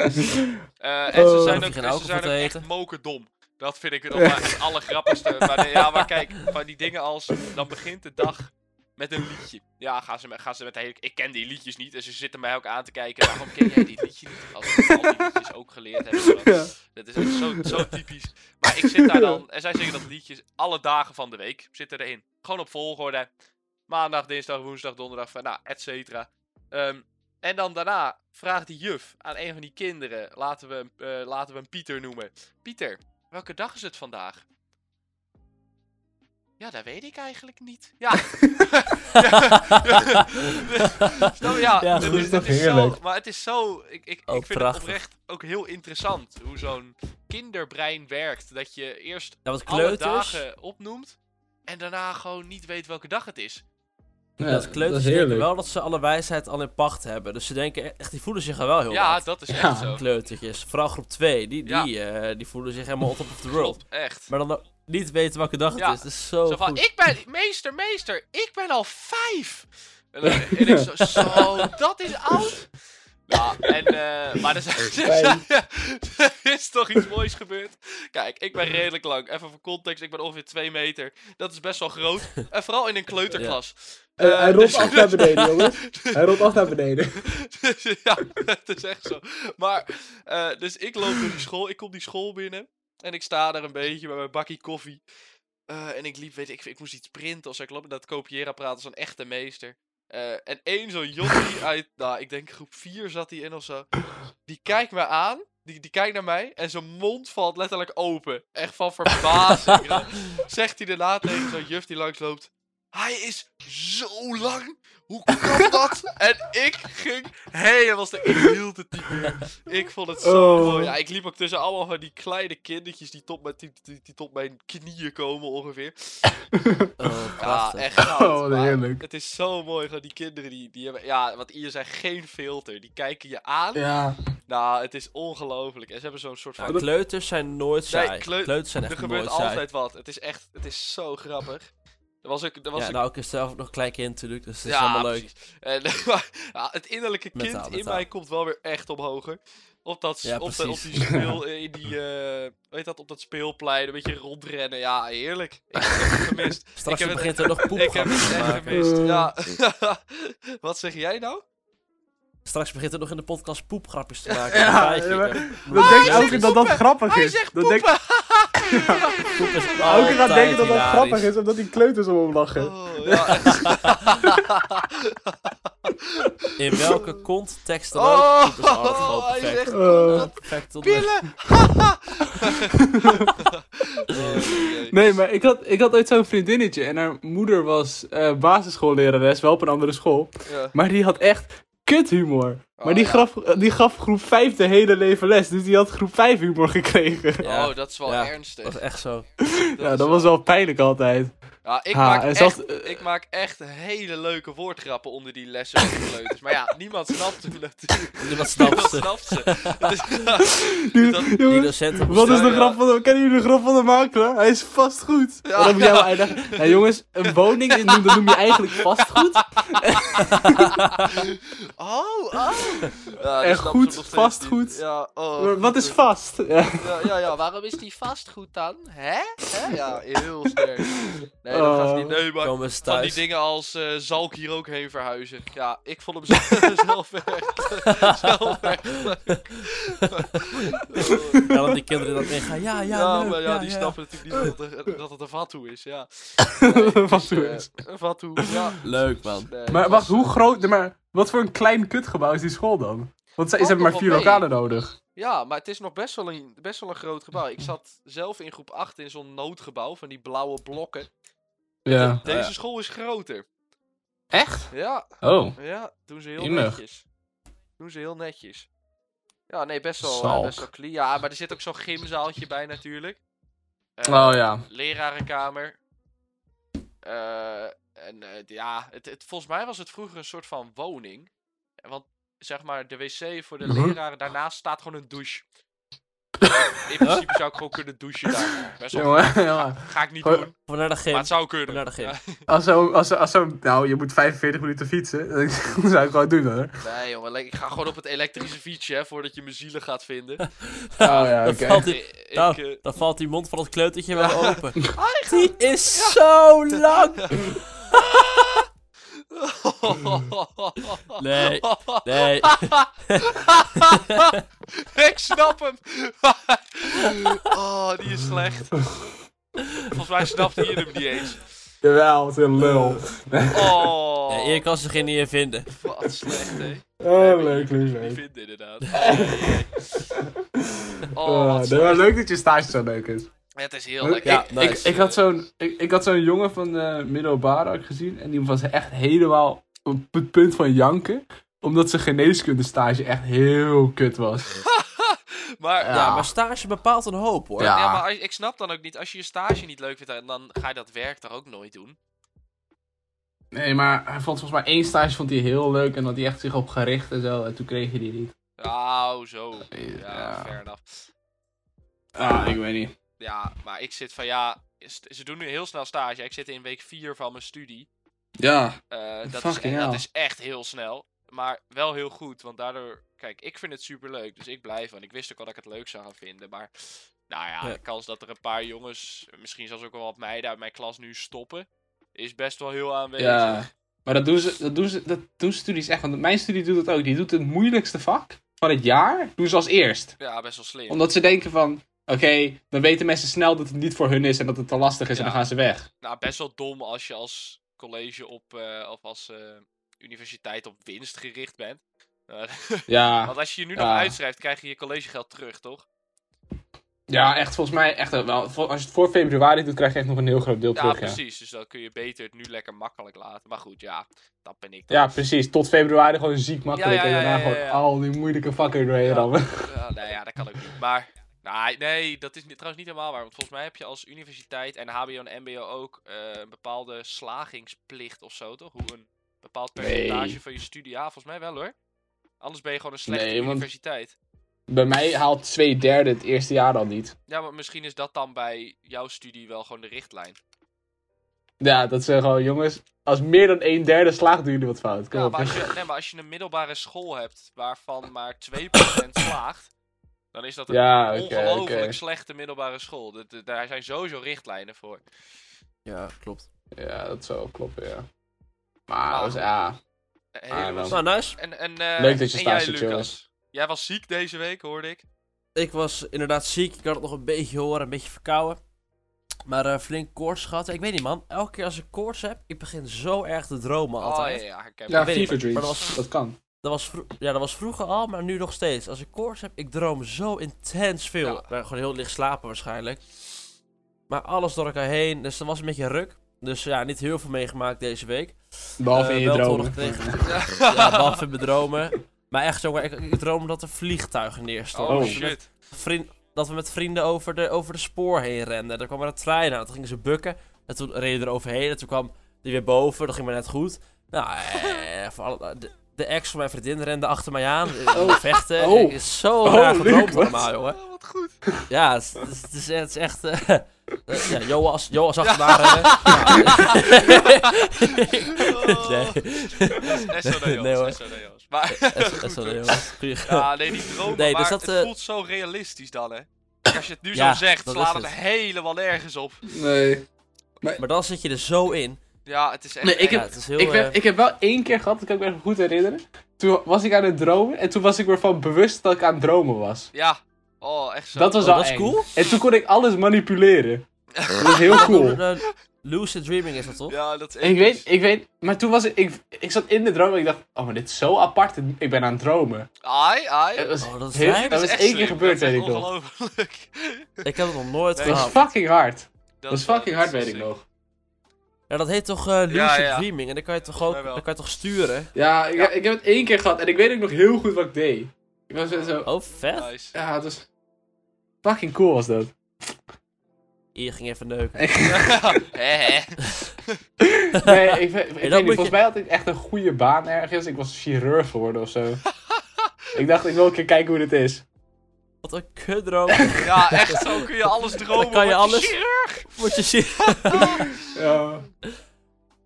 Speaker 2: Eh, en ze
Speaker 1: Oh.
Speaker 2: zijn
Speaker 3: Hoef je
Speaker 2: ook,
Speaker 3: geen
Speaker 2: en ze
Speaker 3: alcohol
Speaker 2: zijn
Speaker 3: te
Speaker 2: ook echt
Speaker 3: eten?
Speaker 2: mokerdom. Dat vind ik het nog wel het allergrappigste. Maar de- ja, maar kijk, van die dingen als... Dan begint de dag met een liedje. Ja, gaan ze met, gaan ze met de hele... Ik ken die liedjes niet en ze zitten mij ook aan te kijken. Waarom ken jij dit liedje niet? Als ik al die liedjes ook geleerd heb. of zo.
Speaker 1: Ja.
Speaker 2: Dat is echt zo, zo typisch. Maar ik zit daar dan... En zij zingen dat liedje alle dagen van de week. Zitten erin. Gewoon op volgorde. Maandag, dinsdag, woensdag, donderdag, vrijdag, nou, et cetera. Ehm, en dan daarna vraagt die juf aan een van die kinderen, laten we, hem, eh, laten we hem Pieter noemen. Pieter, welke dag is het vandaag? Ja, dat weet ik eigenlijk niet. Ja. ja. Snap je? ja,
Speaker 3: Ja,
Speaker 2: dit
Speaker 3: goed,
Speaker 2: is-
Speaker 1: is
Speaker 2: dit
Speaker 1: toch
Speaker 2: is zo,
Speaker 1: heerlijk?
Speaker 2: maar het is zo, ik, ik,
Speaker 3: Oh,
Speaker 2: ik vind
Speaker 3: prachtig.
Speaker 2: het oprecht ook heel interessant hoe zo'n kinderbrein werkt. Dat je eerst
Speaker 3: Dat was
Speaker 2: alle
Speaker 3: kleuters.
Speaker 2: dagen opnoemt en daarna gewoon niet weet welke dag het is.
Speaker 1: Ja,
Speaker 3: dat kleuters denken wel dat ze alle wijsheid al in pacht hebben. Dus ze denken e- echt, die voelen zich er wel heel
Speaker 2: Ja,
Speaker 3: laat.
Speaker 2: dat is
Speaker 1: Ja.
Speaker 2: echt zo.
Speaker 3: Kleutertjes. Vooral groep 2, die, die,
Speaker 2: Ja.
Speaker 3: eh, die voelen zich helemaal on top of the world.
Speaker 2: Klopt, echt.
Speaker 3: Maar dan ook niet weten welke dag het
Speaker 2: Ja.
Speaker 3: is. Dat is zo,
Speaker 2: Zo van,
Speaker 3: goed.
Speaker 2: ik ben, meester, meester, ik ben al vijf. En, dan, en ik zo, zo, dat is oud. Nou, en, eh, maar er, zijn- er is toch iets moois gebeurd. Kijk, ik ben redelijk lang. Even voor context, ik ben ongeveer twee meter. Dat is best wel groot. En vooral in een kleuterklas.
Speaker 1: Eh, hij
Speaker 2: Eh,
Speaker 1: rolt
Speaker 2: dus-
Speaker 1: af naar beneden, jongens. Hij rolt af naar beneden.
Speaker 2: ja, het is echt zo. Maar, eh, dus ik loop door die school. Ik kom die school binnen. En ik sta daar een beetje met mijn bakkie koffie. Eh, en ik liep, weet ik, ik moest iets printen of zo. Ik loop met dat kopieerapparaat als een echte meester. Eh, en één zo'n jochie uit, nou, ik denk groep 4 zat hij in of zo. Die kijkt me aan. Die, die kijkt naar mij en zijn mond valt letterlijk open. Echt van verbazing. ja. Zegt hij daarna tegen zo'n juf die langs loopt. Hij is zo lang. Hoe kan dat? En ik ging helemaal stuk. Ik hield het niet meer. Ik vond het zo
Speaker 1: Oh.
Speaker 2: mooi. Ja, ik liep ook tussen allemaal van die kleine kindertjes die tot mijn, die, die- die tot mijn knieën komen ongeveer.
Speaker 3: Oh,
Speaker 2: Ja,
Speaker 3: prachtig.
Speaker 2: Ah, echt goud.
Speaker 1: Oh, wat
Speaker 2: maar
Speaker 1: heerlijk.
Speaker 2: Het is zo mooi, gewoon die kinderen die, die hebben... Ja, want hier zijn geen filter. Die kijken je aan.
Speaker 1: Ja.
Speaker 2: Nou, het is ongelooflijk. En ze hebben zo'n soort van...
Speaker 3: Nou, kleuters zijn nooit saai.
Speaker 2: kleu-
Speaker 3: Kleuters zijn echt
Speaker 2: er gebeurt
Speaker 3: nooit saai.
Speaker 2: altijd wat. Het is echt... Het is zo grappig. Er was ook... Er was
Speaker 3: ja,
Speaker 2: ook-
Speaker 3: nou, ik is zelf ook nog een klein kind natuurlijk, dus het is
Speaker 2: Ja,
Speaker 3: allemaal leuk.
Speaker 2: precies. En, maar, ja, het innerlijke
Speaker 3: Met
Speaker 2: kind
Speaker 3: taal, met
Speaker 2: in
Speaker 3: taal.
Speaker 2: mij komt wel weer echt omhoog. hoor. Op dat, s-
Speaker 3: Ja,
Speaker 2: op, de- op die
Speaker 3: precies.
Speaker 2: speel, in die, eh, weet dat, op dat speelplein, een beetje rondrennen. Ja, heerlijk. Ik heb het gemist.
Speaker 3: Straks
Speaker 2: Ik heb
Speaker 3: begint er nog
Speaker 2: Ik heb
Speaker 3: poepgrapjes
Speaker 2: het
Speaker 3: te
Speaker 2: echt
Speaker 3: maken. Oh,
Speaker 2: gemist.
Speaker 1: Eh.
Speaker 2: Ja. Wat zeg jij nou?
Speaker 3: Straks begint er nog in de podcast poepgrapjes te maken.
Speaker 1: Ja,
Speaker 3: Dan krijg je
Speaker 1: maar-
Speaker 3: het.
Speaker 1: Dan denk
Speaker 2: hij
Speaker 1: ik elke
Speaker 2: zegt
Speaker 1: keer dat dat
Speaker 2: poepen.
Speaker 1: grappig
Speaker 2: Hij
Speaker 1: is.
Speaker 2: zegt
Speaker 1: Dan denk
Speaker 2: poepen.
Speaker 3: Poep is
Speaker 1: elke keer
Speaker 3: altijd
Speaker 1: gaat denken dat dat
Speaker 3: Oh, hilarisch.
Speaker 1: grappig is, omdat die kleuters omhoog lachen.
Speaker 2: Oh, ja.
Speaker 3: In welke context dan
Speaker 2: Oh,
Speaker 3: ook, poep is altijd gewoon
Speaker 2: hij zegt
Speaker 3: perfect.
Speaker 1: Eh.
Speaker 3: Perfect tot de-
Speaker 2: pillen. Oh, jee.
Speaker 1: Nee, maar ik had, ik had ooit zo'n vriendinnetje en haar moeder was eh basisschoollerares, wel op een andere school.
Speaker 2: Ja.
Speaker 1: Maar die had echt kut humor. Maar
Speaker 2: Oh,
Speaker 1: die,
Speaker 2: ja.
Speaker 1: gaf, die gaf groep 5 de hele leven les, dus die had groep 5 humor gekregen.
Speaker 3: Ja,
Speaker 2: Oh, dat is wel
Speaker 3: Ja.
Speaker 2: ernstig.
Speaker 3: dat is echt zo.
Speaker 1: ja,
Speaker 2: is
Speaker 1: dat was wel pijnlijk altijd.
Speaker 2: Ja, ik,
Speaker 1: Ha,
Speaker 2: maak
Speaker 1: en
Speaker 2: echt,
Speaker 1: zelfs, eh,
Speaker 2: ik maak echt hele leuke woordgrappen onder die lessen van de kleuters. Maar ja, niemand snapt ze natuurlijk.
Speaker 3: Niemand snapt
Speaker 2: Niemand
Speaker 3: ze.
Speaker 2: snapt ze. Het is-
Speaker 1: Die-
Speaker 2: dat-
Speaker 3: Die
Speaker 1: jongens,
Speaker 3: docenten
Speaker 1: wat is
Speaker 2: Ja,
Speaker 1: de
Speaker 2: ja.
Speaker 1: grap van de, kennen jullie de grap van de makelaar? Hij is vastgoed.
Speaker 2: Ja.
Speaker 1: En dan moet jij wel uitleggen, nou jongens, een woning in- dat noem je eigenlijk vastgoed.
Speaker 2: oh, oh. Ja,
Speaker 1: En
Speaker 2: die snapt ze
Speaker 1: goed,
Speaker 2: nog steeds
Speaker 1: vastgoed.
Speaker 2: niet. Ja, oh,
Speaker 1: Maar Wat
Speaker 2: goed.
Speaker 1: is vast? Ja.
Speaker 2: Ja, ja, ja, waarom is die vastgoed dan? Hè? Hè? Ja, heel sterk. Nee, dat gaat
Speaker 1: Oh.
Speaker 2: niet. Nee, maar
Speaker 3: Komen ze
Speaker 2: van die
Speaker 3: thuis.
Speaker 2: dingen als eh, zal ik hier ook heen verhuizen? Ja, ik vond hem zelf, dus zelf echt. zelf echt. leuk. Oh.
Speaker 3: En dan die kinderen dan ingaan.
Speaker 2: Ja,
Speaker 3: Ja, ja, leuk,
Speaker 2: Nou, maar ja,
Speaker 3: ja,
Speaker 2: die
Speaker 3: ja.
Speaker 2: snappen natuurlijk niet dat, er- dat het een vatoe is, ja. Nee,
Speaker 1: Een
Speaker 2: dus,
Speaker 1: vatoe
Speaker 2: eh,
Speaker 1: is.
Speaker 2: Een vatoe, ja.
Speaker 3: Leuk man.
Speaker 2: Nee,
Speaker 1: Maar
Speaker 2: het
Speaker 1: wacht,
Speaker 2: was-
Speaker 1: hoe groot, nee, maar wat voor een klein kutgebouw is die school dan? Want ze, ze
Speaker 2: Valt
Speaker 1: hebben maar
Speaker 2: nog
Speaker 1: vier
Speaker 2: wel mee.
Speaker 1: lokalen nodig.
Speaker 2: Ja, maar het is nog best wel, een, best wel een groot gebouw. Ik zat zelf in groep 8 in zo'n noodgebouw van die blauwe blokken.
Speaker 1: Ja.
Speaker 2: Deze
Speaker 3: Oh ja.
Speaker 2: school is groter.
Speaker 1: Echt?
Speaker 2: Ja,
Speaker 1: Oh.
Speaker 2: ja, doen ze heel
Speaker 1: Jemig.
Speaker 2: netjes. Doen ze heel netjes. Ja, nee, best wel, eh,
Speaker 1: Zalk.
Speaker 2: best wel clean. Ja, maar er zit ook zo'n gymzaaltje bij natuurlijk. Eh,
Speaker 1: Oh ja.
Speaker 2: lerarenkamer. Eh, en eh, ja, het, het, volgens mij was het vroeger een soort van woning. Want zeg maar, de wc voor de
Speaker 1: Mhm.
Speaker 2: leraren daarnaast staat gewoon een douche. In principe zou ik gewoon kunnen douchen daar. Best wel
Speaker 1: Jongen,
Speaker 2: goed.
Speaker 1: ja.
Speaker 2: Ga, ga ik niet
Speaker 1: Gewoon-
Speaker 2: doen,
Speaker 3: Van naar de gym.
Speaker 2: maar het zou
Speaker 3: Van
Speaker 2: kunnen.
Speaker 3: naar de gym.
Speaker 1: Als zo, als, zo- als zo, nou, je moet 45 minuten fietsen. Dan zou ik gewoon doen hoor.
Speaker 2: Nee jongen, le- ik ga gewoon op het elektrische fietsje hè, voordat je mijn zielen gaat vinden.
Speaker 1: Oh ja,
Speaker 3: Dan
Speaker 1: oké.
Speaker 3: valt die-
Speaker 2: Ik,
Speaker 3: nou,
Speaker 2: ik, eh,
Speaker 3: dan valt die mond van het kleutertje wel open.
Speaker 1: Ah,
Speaker 3: Die is zo lang! Nee, nee.
Speaker 1: Oh.
Speaker 2: ik snap hem. oh, die is slecht. Volgens mij snapte je hem niet eens.
Speaker 1: Jawel, wat een lul.
Speaker 2: Oh,
Speaker 3: Ja, hier kan ze geen niet in vinden.
Speaker 2: wat slecht, hè?
Speaker 1: Oh, leuk,
Speaker 2: Die
Speaker 1: leuk,
Speaker 2: kun je
Speaker 1: leuk.
Speaker 2: niet vinden, inderdaad. Oh, jee. Oh,
Speaker 1: Oh,
Speaker 2: wat
Speaker 1: nee, maar
Speaker 2: slecht.
Speaker 1: leuk dat je stage zo leuk is.
Speaker 2: Het is heel lekker.
Speaker 3: Ja,
Speaker 1: ik,
Speaker 3: nice.
Speaker 1: ik, ik had zo'n, ik, ik had zo'n jongen van de middelbare had ik gezien. En die was echt helemaal op het punt van janken. Omdat zijn geneeskunde stage echt heel kut was.
Speaker 2: Maar,
Speaker 1: Ja.
Speaker 2: ja.
Speaker 3: Ja, maar stage bepaalt een hoop hoor.
Speaker 1: Ja.
Speaker 2: maar als- ik snap dan ook niet, als je je stage niet leuk vindt, dan ga je dat werk daar ook nooit doen.
Speaker 1: Nee, maar hij vond volgens mij één stage vond hij heel leuk. En had hij echt zich op gericht en zo. En toen kreeg je die niet.
Speaker 2: Nou, zo. Ja,
Speaker 1: Ja.
Speaker 2: fair enough.
Speaker 1: Ah, ik weet niet.
Speaker 2: Ja, maar ik zit van ja. is- Ze doen nu heel snel stage. Ik zit in week 4 van mijn studie.
Speaker 1: Ja.
Speaker 2: Eh, dat, is,
Speaker 1: Fucking
Speaker 2: en dat
Speaker 1: hell.
Speaker 2: is echt heel snel. Maar wel heel goed. Want daardoor. Kijk, ik vind het super leuk. Dus ik blijf. Want ik wist ook al dat ik het leuk zou gaan vinden. Maar. Nou ja,
Speaker 3: Ja.
Speaker 2: de kans dat er een paar jongens. Misschien zelfs ook wel wat meiden uit mijn klas nu stoppen. Is best wel heel aanwezig.
Speaker 1: Ja. Maar dat doen, ze, dat, doen ze, dat doen studies echt. Want mijn studie doet dat ook. Die doet het moeilijkste vak van het jaar. Doen ze als eerst.
Speaker 2: Ja, best wel slim.
Speaker 1: Omdat ze denken van, oké, dan weten mensen snel dat het niet voor hun is en dat het te lastig is en
Speaker 2: Ja.
Speaker 1: dan gaan ze weg.
Speaker 2: Nou, best wel dom als je als college op. eh, of als eh, universiteit op winst gericht bent. Eh,
Speaker 1: Ja,
Speaker 2: want als je je nu
Speaker 1: Ja.
Speaker 2: nog uitschrijft, krijg je je collegegeld terug, toch?
Speaker 1: Ja, echt volgens mij echt wel. vol- Als je het voor februari doet, krijg je echt nog een heel groot deel
Speaker 2: Ja,
Speaker 1: terug. Ja.
Speaker 2: precies. Dus dan kun je beter het nu lekker makkelijk laten. Maar goed, ja, dat ben ik dan.
Speaker 1: ja, precies. Tot februari gewoon ziek makkelijk.
Speaker 2: Ja, ja, ja,
Speaker 1: en daarna
Speaker 2: ja, ja, ja.
Speaker 1: gewoon al die moeilijke vakken doorheen
Speaker 2: Ja.
Speaker 1: rammen.
Speaker 2: Ja, nou ja, dat kan ook niet. Maar nee, nee dat is ni- trouwens niet helemaal waar. Want volgens mij heb je als universiteit en HBO en MBO ook eh, een bepaalde slagingsplicht of zo, toch? Hoe een bepaald percentage
Speaker 1: Nee.
Speaker 2: van je studie. Ja, volgens mij wel hoor. Anders ben je gewoon een slechte
Speaker 1: Nee, want-
Speaker 2: universiteit.
Speaker 1: Bij mij haalt twee derde het eerste jaar al niet.
Speaker 2: Ja, maar misschien is dat dan bij jouw studie wel gewoon de richtlijn.
Speaker 1: Ja, dat zijn gewoon, jongens, als meer dan een derde slaagt, doen jullie wat fout. Kom
Speaker 2: Ja,
Speaker 1: op.
Speaker 2: maar als, je, nee, maar als je een middelbare school hebt waarvan maar 2% slaagt, dan is dat een
Speaker 1: Ja, oké,
Speaker 2: ongelooflijk
Speaker 1: oké.
Speaker 2: slechte middelbare school. Dat- dat- daar zijn sowieso richtlijnen voor.
Speaker 3: Ja, klopt.
Speaker 1: Ja, dat zou wel kloppen, ja. Maar,
Speaker 2: Maar
Speaker 1: dat
Speaker 2: goed.
Speaker 1: is- ja.
Speaker 2: Eh,
Speaker 1: Ah,
Speaker 2: helemaal
Speaker 1: dan.
Speaker 3: Nou, nice.
Speaker 2: En, en, eh,
Speaker 1: Leuk dat je
Speaker 2: en
Speaker 1: stage
Speaker 2: jij,
Speaker 1: zit,
Speaker 2: Lucas.
Speaker 1: jongens.
Speaker 2: Jij was ziek deze week, hoorde ik.
Speaker 3: Ik was inderdaad ziek. Ik had het nog een beetje horen, een beetje verkouden. Maar eh, flink koorts gehad. Ik weet niet, man. Elke keer als ik koorts heb, ik begin zo erg te dromen altijd.
Speaker 2: Oh ja, ja, herkenbaar.
Speaker 1: Ja,
Speaker 3: weet ik,
Speaker 1: fever
Speaker 3: maar- maar
Speaker 1: dreams.
Speaker 3: dat was-
Speaker 1: Dat kan.
Speaker 3: Dat was, vro- ja, dat was vroeger al, maar nu nog steeds. Als ik koorts heb, ik droom zo intens veel.
Speaker 2: Ja.
Speaker 3: Ik ben gewoon heel licht slapen waarschijnlijk. Maar alles door elkaar heen, dus dat was een beetje ruk. Dus ja, niet heel veel meegemaakt deze week.
Speaker 1: Behalve
Speaker 3: Eh,
Speaker 1: in je
Speaker 3: wel te
Speaker 1: dromen.
Speaker 3: horen gekregen. ja, behalve in mijn dromen. Maar echt, jongen, ik, ik droom dat er vliegtuigen neerstorten.
Speaker 2: Oh
Speaker 1: Oh.
Speaker 2: shit.
Speaker 3: Vriend, dat we met vrienden over de, over de spoor heen renden. Er kwam er een trein aan, toen gingen ze bukken. En toen reden er overheen. En toen kwam die weer boven, dat ging maar net goed. Nou, eh, voor alle- de, de ex van mijn vriendin rende achter mij aan. eh,
Speaker 1: Oh.
Speaker 3: Vechten.
Speaker 1: Oh.
Speaker 3: Ik is zo
Speaker 1: Oh,
Speaker 3: raar
Speaker 1: Luc,
Speaker 3: gedroomd
Speaker 1: wat?
Speaker 3: allemaal, jongen.
Speaker 2: Oh, wat goed.
Speaker 3: Ja, het, is- het is- het is, het is echt... eh, eh, ja, Joas, Joas achter mij rennen.
Speaker 2: Oh.
Speaker 3: Nee.
Speaker 2: SOD,
Speaker 3: Nee, hoor.
Speaker 2: jongens. SOD, jongens. Maar,
Speaker 3: Eh, Sorry, Joas. Goeie grap.
Speaker 2: ja, nee, die dromen,
Speaker 3: Nee, dus
Speaker 2: maar
Speaker 3: dat,
Speaker 2: het
Speaker 3: eh,
Speaker 2: voelt zo realistisch dan, hè. Kijk, Als je het nu
Speaker 3: Ja,
Speaker 2: zo zegt,
Speaker 3: dat
Speaker 2: slaat
Speaker 3: is
Speaker 2: het helemaal nergens op.
Speaker 1: Nee.
Speaker 3: Maar dan zit je er zo in.
Speaker 2: Ja, het is echt...
Speaker 1: Nee, ik
Speaker 3: Ja,
Speaker 1: heb-
Speaker 3: het is heel...
Speaker 1: Ik,
Speaker 3: eh,
Speaker 1: ben, ik heb wel één keer gehad, dat kan ik me even goed herinneren. Toen was ik aan het dromen en toen was ik me van bewust dat ik aan het dromen was.
Speaker 2: Ja. Oh, echt zo.
Speaker 1: Dat was
Speaker 3: oh,
Speaker 1: wel
Speaker 3: dat is
Speaker 1: eng.
Speaker 3: cool.
Speaker 1: En toen kon ik alles manipuleren. Dat is heel cool.
Speaker 3: Eh, lucid dreaming is dat toch?
Speaker 2: Ja, dat is
Speaker 1: Ik
Speaker 2: echt
Speaker 1: weet,
Speaker 2: iets.
Speaker 1: ik weet, maar toen was ik, ik, ik zat in de droom en ik dacht, oh maar dit is zo apart, ik ben aan het dromen.
Speaker 2: Ai, ai.
Speaker 1: Dat
Speaker 2: Dat
Speaker 1: was,
Speaker 3: Oh, dat is
Speaker 1: heel-
Speaker 3: lijp.
Speaker 1: dat
Speaker 2: is
Speaker 1: was
Speaker 2: echt
Speaker 1: één keer
Speaker 2: slim.
Speaker 1: gebeurd,
Speaker 2: Dat is
Speaker 1: weet ik
Speaker 2: echt
Speaker 1: nog.
Speaker 2: ongelooflijk.
Speaker 3: Ik heb het nog nooit
Speaker 2: Nee.
Speaker 1: Dat was
Speaker 3: gehad.
Speaker 1: fucking hard. Dat was
Speaker 2: eh,
Speaker 1: fucking hard, weet ik
Speaker 2: sick.
Speaker 1: nog.
Speaker 3: Ja, dat heet toch eh lucid
Speaker 2: Ja, ja.
Speaker 3: dreaming? En dan kan je toch
Speaker 2: Volgens
Speaker 3: ook,
Speaker 2: mij wel.
Speaker 3: dan kan je toch sturen?
Speaker 1: Ja, ik, ik heb het één keer gehad en ik weet ook nog heel goed wat ik deed. Ik was zo,
Speaker 3: Oh, vet.
Speaker 2: Nice.
Speaker 1: ja het was, fucking cool was dat.
Speaker 3: Hier ging even neuken.
Speaker 2: Hè, hè.
Speaker 1: Nee, ik, weet- ik weet
Speaker 3: moet
Speaker 1: niet. Volgens
Speaker 3: je-
Speaker 1: mij had ik echt een goede baan ergens. Ik was chirurg geworden of zo. ik dacht, ik wil een keer kijken hoe dit is.
Speaker 3: Wat een kutdroom.
Speaker 2: Ja, echt zo kun je alles dromen.
Speaker 3: Dan kan je
Speaker 2: wat
Speaker 3: alles.
Speaker 2: chirurg.
Speaker 3: Moet je zien.
Speaker 1: Ja.